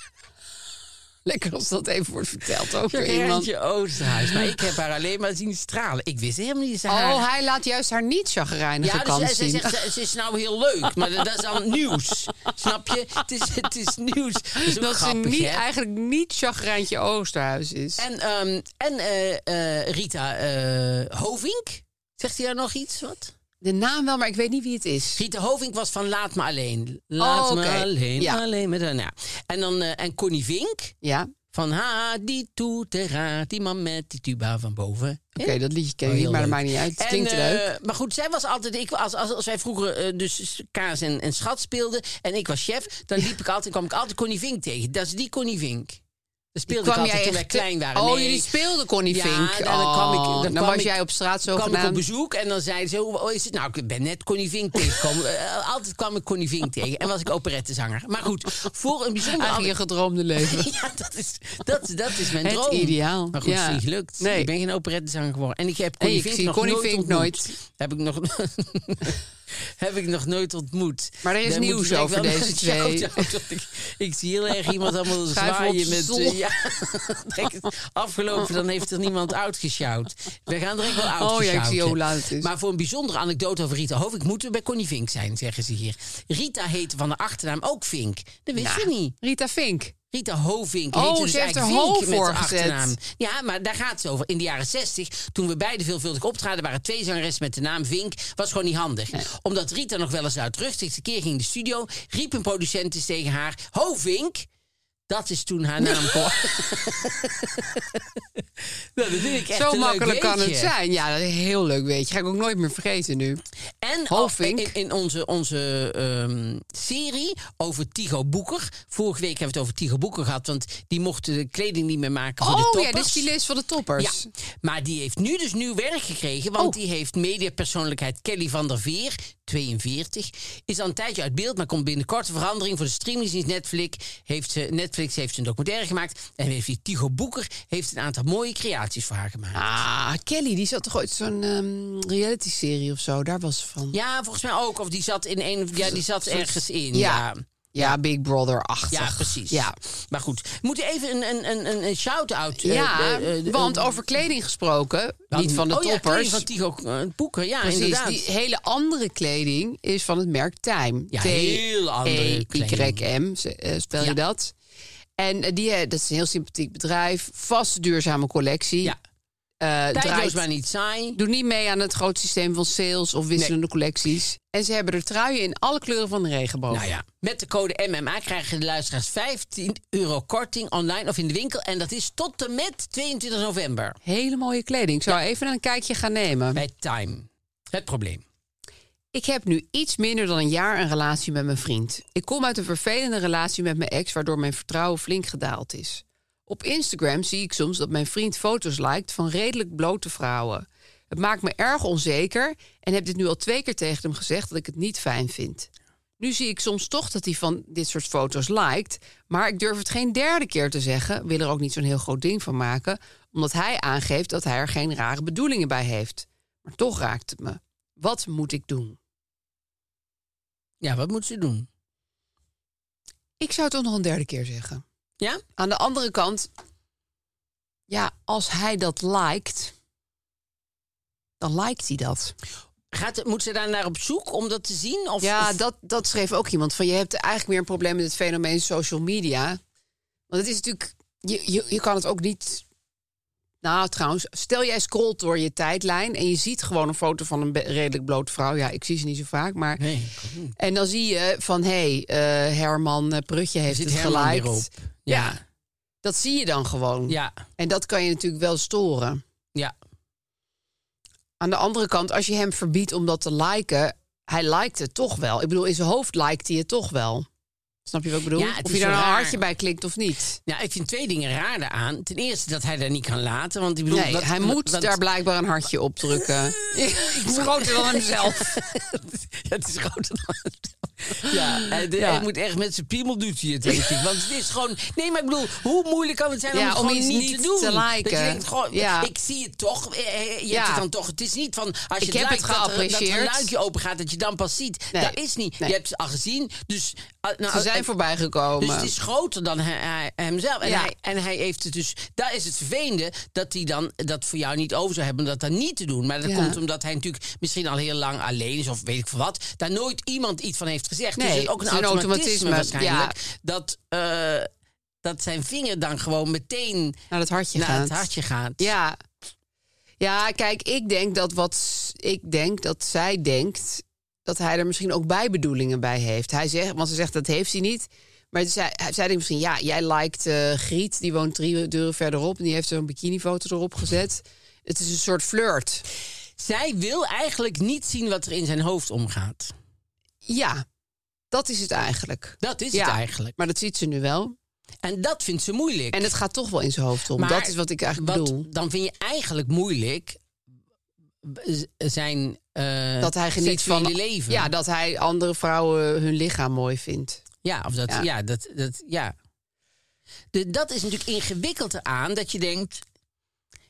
S2: Lekker als dat even wordt verteld ook door iemand.
S1: Chagrijntje Oosterhuis. Maar ik heb haar alleen maar zien stralen. Ik wist helemaal niet dat ze haar...
S2: Oh, hij laat juist haar niet chagrijnige
S1: ja, dus
S2: kant
S1: zij- zij
S2: zien.
S1: zegt, ze- ze is nou heel leuk, maar dat, dat is dan nieuws. Snap je? Het is, het is nieuws. Dat is ook
S2: dat ze
S1: grappig,
S2: niet,
S1: hè?
S2: eigenlijk niet chagrijntje Oosterhuis is.
S1: En, ehm, en eh, eh, Rita eh, Hovink? Zegt hij daar nog iets? Wat?
S2: de naam wel, maar ik weet niet wie het is.
S1: Rita Hovink was van Laat me alleen. Laat
S2: Oh, oké.
S1: me alleen,
S2: Ja.
S1: alleen met een. Ja. En, dan, eh, en Connie Vink
S2: Ja,
S1: van Ha, die toetera, die man met die tuba van boven.
S2: oké, dat liedje ken
S1: Oh,
S2: ik niet,
S1: heel
S2: maar dat
S1: leuk.
S2: maakt niet uit. Het
S1: En,
S2: klinkt
S1: eh,
S2: leuk.
S1: Maar goed, zij was altijd. Ik, als, als, als wij vroeger eh, dus kaas en, en schat speelden en ik was chef, dan liep ik altijd, kwam ik altijd Connie Vink tegen. Dat is die Connie Vink. Dat speelde ik altijd toen wij
S2: te-
S1: klein waren.
S2: Oh,
S1: Nee.
S2: jullie speelden Connie
S1: Ja,
S2: Vink.
S1: en dan kwam ik-
S2: Oh,
S1: dan
S2: dan
S1: kwam
S2: was
S1: ik-
S2: jij op straat zo
S1: kwam ik op
S2: gedaan.
S1: bezoek en dan zeiden ze, hoe hoe is het? Nou, ik ben net Connie Vink tegengekomen. Eh, Altijd kwam ik Connie Vink tegen en was ik operettezanger. Maar goed, voor een bijzonder...
S2: Eigenlijk je gedroomde leven.
S1: Ja, dat is, dat, dat is mijn
S2: Het
S1: droom.
S2: ideaal,
S1: Maar goed,
S2: ja.
S1: het is niet gelukt.
S2: Nee.
S1: Ik ben geen operettezanger geworden. En ik heb Connie
S2: ik
S1: Vink
S2: zie
S1: nog
S2: Connie
S1: nooit
S2: Vink
S1: ontmoet.
S2: nooit.
S1: Heb ik nog... Heb ik nog nooit ontmoet.
S2: Maar er is
S1: Dan
S2: nieuws
S1: moet ik wel
S2: over deze
S1: een
S2: twee.
S1: shout-out, want Ik, ik zie heel erg iemand allemaal
S2: Schuif hem op
S1: zwaaien
S2: z'n
S1: met...
S2: zol.
S1: eh, ja, Denk het, afgelopen, dan heeft er niemand uitgesjouwd. We gaan direct wel uitgesjouwd.
S2: Oh ja, ik zie hoe laat het is.
S1: Maar voor een bijzondere anekdote over Rita Hovink... moeten we bij Connie Vink zijn, zeggen ze hier. Rita heette van de achternaam ook Vink. Dat wist je niet.
S2: Rita Vink.
S1: Rita Hovink.
S2: Oh,
S1: heette dus
S2: ze heeft
S1: eigenlijk
S2: er Ho
S1: Vink met
S2: voor
S1: de achternaam.
S2: gezet.
S1: Ja, maar daar gaat het over. In de jaren 60, toen we beide veelvuldig optraden, waren twee zangeressen met de naam Vink. Was gewoon niet handig. Omdat Rita nog wel eens luidruchtig tekeer ging in de studio, riep een producent eens tegen haar: Ho Vink. Dat is toen haar naam geworden. nou, dat vind ik echt
S2: Zo
S1: een leuk
S2: makkelijk kan het
S1: weetje.
S2: zijn. Ja, dat is een heel leuk weetje. Ga ik ook nooit meer vergeten nu.
S1: En
S2: Hofink.
S1: in, in onze, onze ehm, serie over Tigo Boeker. Vorige week hebben we het over Tigo Boeker gehad, want die mocht de kleding niet meer maken voor de
S2: Oh
S1: toppers.
S2: ja, de stylist van de toppers.
S1: Ja, maar die heeft nu dus nieuw werk gekregen. Want
S2: Oh.
S1: die heeft mediapersoonlijkheid Kelly van der Veer, 42. Is al een tijdje uit beeld, maar komt binnenkort een verandering voor de streamingsdienst Netflix. Heeft ze, Netflix heeft een documentaire gemaakt. En heeft die Tigo Boeker heeft een aantal mooie creaties voor haar gemaakt.
S2: Ah, Kelly, die zat toch ooit zo'n ehm, reality-serie of zo? Daar was ze van.
S1: Ja, volgens mij ook. Of die zat, in een, ja, die zat ergens in.
S2: Ja.
S1: ja.
S2: Ja, Big Brother-achtig.
S1: Ja, precies.
S2: Ja,
S1: Maar goed, we moeten even een, een, een, een, een shout-out... eh,
S2: ja
S1: eh, eh,
S2: want
S1: eh,
S2: over kleding gesproken,
S1: want-
S2: niet van de
S1: oh, ja,
S2: toppers.
S1: kleding van Tigo eh, Boeker, ja,
S2: precies,
S1: inderdaad.
S2: die hele andere kleding is van het merk Time. E
S1: Ja, heel andere kleding.
S2: T-Y-M, ze- eh, spel je
S1: Ja.
S2: dat. En eh, die, eh, dat is een heel sympathiek bedrijf. Vast duurzame collectie.
S1: Ja.
S2: Eh,
S1: Tijdloos,
S2: draait
S1: maar niet saai.
S2: Doe niet mee aan het grote systeem van sales of wisselende collecties. En ze hebben er truien in alle kleuren van de regenboog.
S1: Nou ja, met de code MMA krijgen de luisteraars 15 euro korting online of in de winkel. En dat is tot en met 22 november
S2: Hele mooie kleding. Ik zou even een kijkje gaan nemen.
S1: bij Time. Het probleem.
S2: Ik heb nu iets minder dan een jaar een relatie met mijn vriend. Ik kom uit een vervelende relatie met mijn ex, waardoor mijn vertrouwen flink gedaald is. Op Instagram zie ik soms dat mijn vriend foto's liked van redelijk blote vrouwen. Het maakt me erg onzeker en heb dit nu al twee keer tegen hem gezegd dat ik het niet fijn vind. Nu zie ik soms toch dat hij van dit soort foto's liked, maar ik durf het geen derde keer te zeggen, wil er ook niet zo'n heel groot ding van maken, omdat hij aangeeft dat hij er geen rare bedoelingen bij heeft. Maar toch raakt het me. Wat moet ik doen?
S1: Ja, wat moet ze doen?
S2: Ik zou het ook nog een derde keer zeggen.
S1: Ja?
S2: Aan de andere kant, ja, als hij dat liked, dan liked hij dat.
S1: Gaat, moet ze daar naar op zoek om dat te zien? Of,
S2: Ja,
S1: of-
S2: dat, dat schreef ook iemand van je hebt eigenlijk meer een probleem met het fenomeen social media. Want het is natuurlijk, je, je, je kan het ook niet. Nou, trouwens, stel jij scrolt door je tijdlijn en je ziet gewoon een foto van een be- redelijk blote vrouw. Ja, ik zie ze niet zo vaak, maar.
S1: Nee, ik ook niet.
S2: En dan zie je van hé, hey, eh, Herman eh, Prutje heeft
S1: zit
S2: het
S1: Herman weer
S2: geliked.
S1: op. Ja.
S2: ja, dat zie je dan gewoon.
S1: ja,
S2: En dat kan je natuurlijk wel storen.
S1: ja.
S2: Aan de andere kant, als je hem verbiedt om dat te liken, hij liked het toch wel. Ik bedoel, in zijn hoofd liked hij het toch wel. Snap je wat ik bedoel?
S1: Ja, het
S2: of
S1: is
S2: je daar
S1: zo
S2: nou een
S1: raar.
S2: hartje bij klikt of niet.
S1: Nou, ik vind twee dingen raar daaraan. Ten eerste dat hij daar niet kan laten, want ik bedoel...
S2: Nee,
S1: wat-
S2: hij moet
S1: want-
S2: daar blijkbaar een hartje op drukken. Het is Groter dan hemzelf.
S1: Ja, het is groter dan hemzelf. Ja, hij, de-
S2: Ja.
S1: hij moet echt met zijn piemel doet hij het, denk ik. Want het is gewoon... Nee, maar ik bedoel, hoe moeilijk kan het zijn
S2: Ja,
S1: om het
S2: om
S1: gewoon
S2: iets
S1: niet,
S2: niet
S1: te doen?
S2: te
S1: Dat
S2: liken.
S1: je denkt, gewoon,
S2: Ja.
S1: ik zie het toch. eh, eh, Je
S2: Ja.
S1: hebt het dan toch. Het is niet van, als je het
S2: Ik heb
S1: lijkt
S2: het
S1: dat er- dat er
S2: geapprecieerd.
S1: een luikje open gaat, dat je dan pas ziet.
S2: Nee.
S1: Dat is niet.
S2: Nee.
S1: Je hebt ze al gezien, dus... ah, nou,
S2: Ze
S1: eh,
S2: zijn
S1: dus
S2: voorbijgekomen.
S1: het is groter dan hij, hij- hemzelf. En,
S2: Ja.
S1: hij, en hij heeft het dus. Daar is het vervelende dat hij dan dat voor jou niet over zou hebben om dat dan niet te doen. Maar dat
S2: Ja.
S1: komt omdat hij natuurlijk misschien al heel lang alleen is of weet ik veel wat. Daar nooit iemand iets van heeft gezegd.
S2: Nee,
S1: dus het is ook een
S2: het is een
S1: automatisme,
S2: automatisme,
S1: waarschijnlijk. Dat, eh, dat zijn vinger dan gewoon meteen
S2: Naar dat hartje
S1: naar
S2: gaat.
S1: het hartje gaat.
S2: Ja. Ja, kijk, ik denk dat wat s- ik denk dat zij denkt dat hij er misschien ook bijbedoelingen bij heeft. Hij zegt, want ze zegt dat heeft hij niet. Maar zij, hij- zij denkt misschien, ja, jij liked eh, Griet, die woont drie deuren verderop en die heeft zo'n bikinifoto erop gezet. Het is een soort flirt.
S1: Zij wil eigenlijk niet zien wat er in zijn hoofd omgaat.
S2: Ja, dat is het eigenlijk.
S1: Dat is
S2: Ja.
S1: het eigenlijk.
S2: Maar dat ziet ze nu wel.
S1: En dat vindt ze moeilijk.
S2: En het gaat toch wel in zijn hoofd om.
S1: Maar
S2: dat is wat ik eigenlijk
S1: wat-
S2: bedoel.
S1: Dan vind je eigenlijk moeilijk eh, zijn eh,
S2: Dat hij geniet van
S1: seksuele leven.
S2: Ja, dat hij andere vrouwen hun lichaam mooi vindt.
S1: ja, of dat,
S2: Ja.
S1: ja. dat, dat, ja. De, dat is natuurlijk ingewikkeld eraan dat je denkt.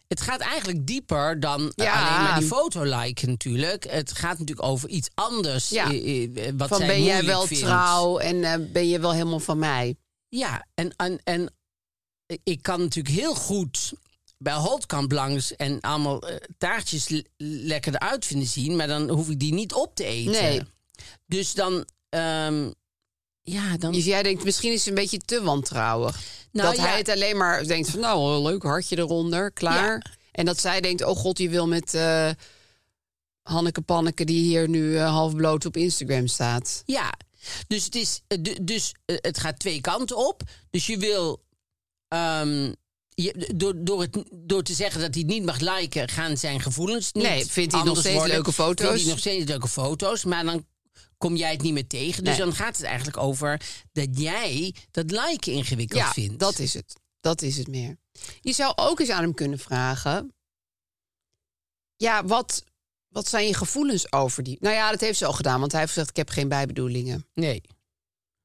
S1: Het gaat eigenlijk dieper dan eh,
S2: Ja.
S1: alleen maar die foto liken natuurlijk. Het gaat natuurlijk over iets anders.
S2: Ja.
S1: eh, eh, wat
S2: van
S1: zij
S2: ben jij
S1: moeilijk
S2: wel
S1: vindt.
S2: trouw en eh, ben je wel helemaal van mij?
S1: Ja, en, en, en ik kan natuurlijk heel goed bij Holtkamp langs en allemaal eh, taartjes l- lekker eruit vinden zien, maar dan hoef ik die niet op te eten.
S2: Nee.
S1: Dus dan, ehm, ja, dan.
S2: Dus jij denkt, misschien is het een beetje te wantrouwig.
S1: Nou,
S2: dat
S1: ja.
S2: hij het alleen maar denkt van, nou, leuk hartje eronder, klaar.
S1: Ja.
S2: En dat zij denkt, oh god, je wil met eh, Hanneke Panneke... die hier nu halfbloot half bloot op Instagram staat.
S1: Ja, dus het, is, eh, du- dus eh, het gaat twee kanten op. Dus je wil. ehm, je, door, door, het, door te zeggen dat hij het niet mag liken, gaan zijn gevoelens niet.
S2: Nee, vindt hij nog
S1: anders
S2: steeds
S1: worden.
S2: leuke foto's?
S1: Vindt hij nog steeds leuke foto's, maar dan kom jij het niet meer tegen. Dus
S2: Nee.
S1: dan gaat het eigenlijk over dat jij dat liken ingewikkeld
S2: ja,
S1: vindt.
S2: dat is het. Dat is het meer. Je zou ook eens aan hem kunnen vragen... ja, wat, wat zijn je gevoelens over die... Nou ja, dat heeft ze al gedaan, want hij heeft gezegd... ik heb geen bijbedoeelingen.
S1: Nee.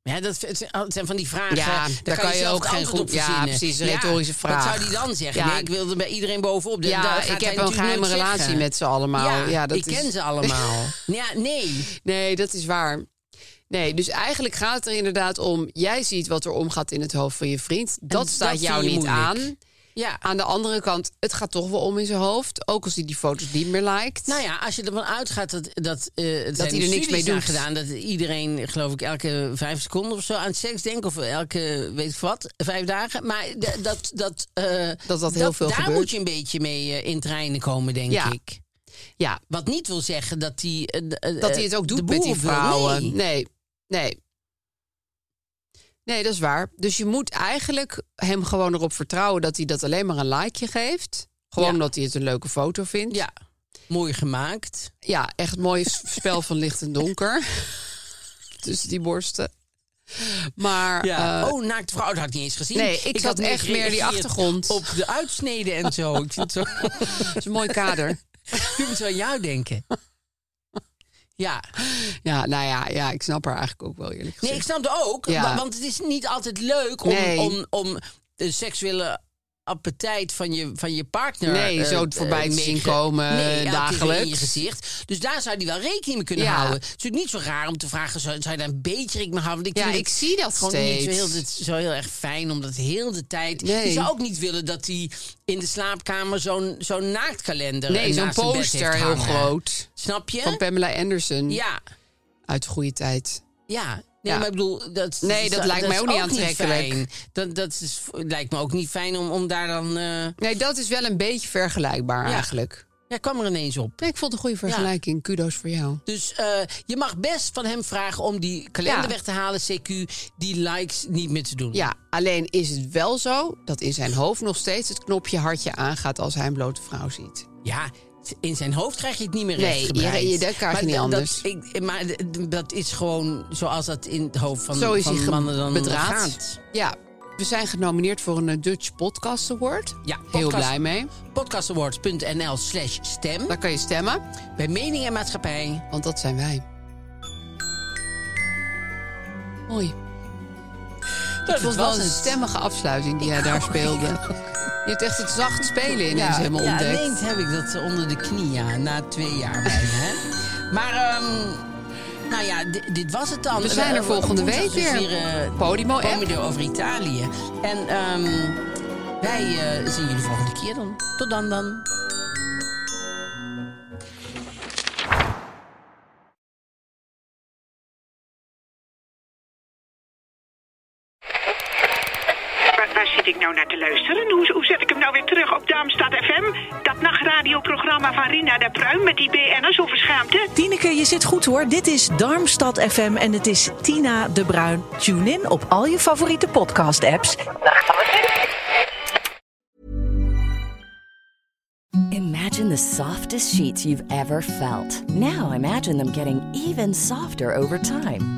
S1: Ja, dat het zijn- het zijn van die vragen.
S2: Ja,
S1: daar, kan, je, zelf
S2: ook
S1: het
S2: geen
S1: antwoord op
S2: goed- ja,
S1: verzinnen.
S2: precies, een retorische vraag.
S1: Wat zou die dan zeggen?
S2: Ja.
S1: Nee, ik wilde bij iedereen bovenop. Dat-
S2: ja,
S1: dat gaat
S2: ik
S1: hij
S2: heb een
S1: natuurlijk
S2: geheime
S1: nooit
S2: relatie
S1: zeggen.
S2: met ze allemaal. Ja,
S1: Ja,
S2: dat
S1: ik
S2: is...
S1: ken ze allemaal. ja, nee.
S2: Nee, dat is waar. Nee, dus eigenlijk gaat het er inderdaad om... jij ziet wat er omgaat in het hoofd van je vriend. Dat
S1: dat
S2: staat
S1: vind
S2: jou
S1: je
S2: niet
S1: moeilijk.
S2: aan.
S1: Ja.
S2: Aan de andere kant, het gaat toch wel om in zijn hoofd. Ook als hij die foto's niet meer liked.
S1: Nou ja, als je ervan uitgaat dat, dat, eh dat
S2: hij er niks mee doet.
S1: gedaan, dat iedereen, geloof ik, elke vijf seconden of zo aan seks denkt, of elke weet ik wat, vijf dagen. Maar d- dat, dat, eh,
S2: dat heel veel
S1: daar
S2: gebeurt.
S1: moet je een beetje mee eh, in treinen komen, denk
S2: Ja.
S1: ik.
S2: ja,
S1: Wat niet wil zeggen dat hij. eh, d- eh,
S2: dat hij het ook
S1: de
S2: doet met
S1: boel
S2: die
S1: wil.
S2: vrouwen.
S1: Nee.
S2: nee, nee. Nee, dat is waar. Dus je moet eigenlijk hem gewoon erop vertrouwen... dat hij dat alleen maar een likeje geeft. Gewoon
S1: Ja.
S2: omdat hij het een leuke foto vindt.
S1: Ja. Mooi gemaakt.
S2: Ja, echt mooi spel van licht en donker. Tussen die borsten. Maar
S1: Ja.
S2: eh,
S1: oh, naakt vrouw, dat had ik niet eens gezien.
S2: Nee, ik had echt meer die
S1: gereageerd
S2: achtergrond.
S1: Op de uitsneden en zo. ik vind het zo...
S2: het is een mooi kader.
S1: Nu moet ik aan jou denken. Ja.
S2: Ja, nou ja, ja, ik snap haar eigenlijk ook wel eerlijk
S1: Nee,
S2: gezegd.
S1: ik snap het ook.
S2: Ja.
S1: wa- Want het is niet altijd leuk om,
S2: Nee.
S1: om, om de seksuele appetijt van je, van je partner...
S2: Nee,
S1: eh,
S2: zo
S1: eh,
S2: voorbij te
S1: mee
S2: zien
S1: ge-
S2: komen,
S1: Nee, ja, het is
S2: dagelijks.
S1: in je gezicht. Dus daar zou die wel rekening mee kunnen
S2: Ja.
S1: houden. Het is natuurlijk niet zo raar om te vragen, zou, zou je daar een beetje rekening mee houden? Want
S2: Ja,
S1: vind
S2: ik
S1: het
S2: zie dat
S1: gewoon niet zo
S2: steeds.
S1: heel, de- zo heel erg fijn, omdat heel de tijd...
S2: Nee.
S1: Je zou ook niet willen dat hij in de slaapkamer zo'n zo'n naaktkalender
S2: Nee,
S1: eh,
S2: zo'n
S1: naast zijn bed heeft
S2: poster heel
S1: hangen.
S2: groot.
S1: Snap je?
S2: Van Pamela Anderson.
S1: ja.
S2: Uit de goede tijd.
S1: Ja, nee,
S2: Hm. Ja.
S1: maar ik bedoel, dat,
S2: Nee, dat lijkt mij
S1: is
S2: ook niet
S1: niet
S2: aantrekkelijk.
S1: fijn. dat dat is, lijkt me ook niet fijn om, om daar dan. eh
S2: Nee, dat is wel een beetje vergelijkbaar
S1: Ja.
S2: eigenlijk.
S1: ja, kwam er ineens op.
S2: Nee, ik vond het een goede vergelijking. Kudos voor jou.
S1: Dus eh, je mag best van hem vragen om die kalender
S2: Ja.
S1: weg te halen, CQ, die likes niet meer te doen.
S2: Ja, alleen is het wel zo dat in zijn hoofd nog steeds het knopje hartje aangaat als hij een blote vrouw ziet.
S1: Ja, in zijn hoofd krijg je het niet meer
S2: Nee,
S1: rechtgebreid.
S2: je- je- dat krijg
S1: Maar
S2: je niet
S1: dat-
S2: anders.
S1: Dat, ik, maar d- dat is gewoon zoals dat in het hoofd van,
S2: Zo is
S1: van
S2: hij ge-
S1: mannen dan
S2: bedraad.
S1: gaat.
S2: Ja, we zijn genomineerd voor een eh, Dutch Podcast Award.
S1: Ja,
S2: Heel
S1: podcast-
S2: blij mee.
S1: Podcastawards.nl slash stem.
S2: Daar kan je stemmen,
S1: Bij mening en maatschappij.
S2: want dat zijn wij. Mooi.
S1: Dat
S2: Het was wel een stemmige afsluiting die jij daar speelde. Je hebt echt het zacht spelen ineens helemaal
S1: ja,
S2: ontdekt.
S1: ineens heb ik dat onder de knie, ja, na twee jaar bijna. hè. maar, ehm, nou ja, di- dit, was het dan. Eh,
S2: We zijn er volgende
S1: woensdag
S2: week
S1: is
S2: weer. Oh,
S1: eh,
S2: Podimo app.
S1: Pomodoro over Italië. En ehm, wij eh, zien jullie volgende keer dan. Tot dan dan.
S3: Waar, waar zit ik nou naar te luisteren? Hoe, hoe zet ik hem nou weer terug op Darmstad FM? Dat nachtradioprogramma van Rina de Pruim met die BN'ers over schaamte?
S4: Tineke, je zit goed hoor. Dit is Darmstad FM en het is Tina de Bruin. Tune in op al je favoriete podcast-apps.
S5: Imagine the softest sheets you've ever felt. Now imagine them getting even softer over time.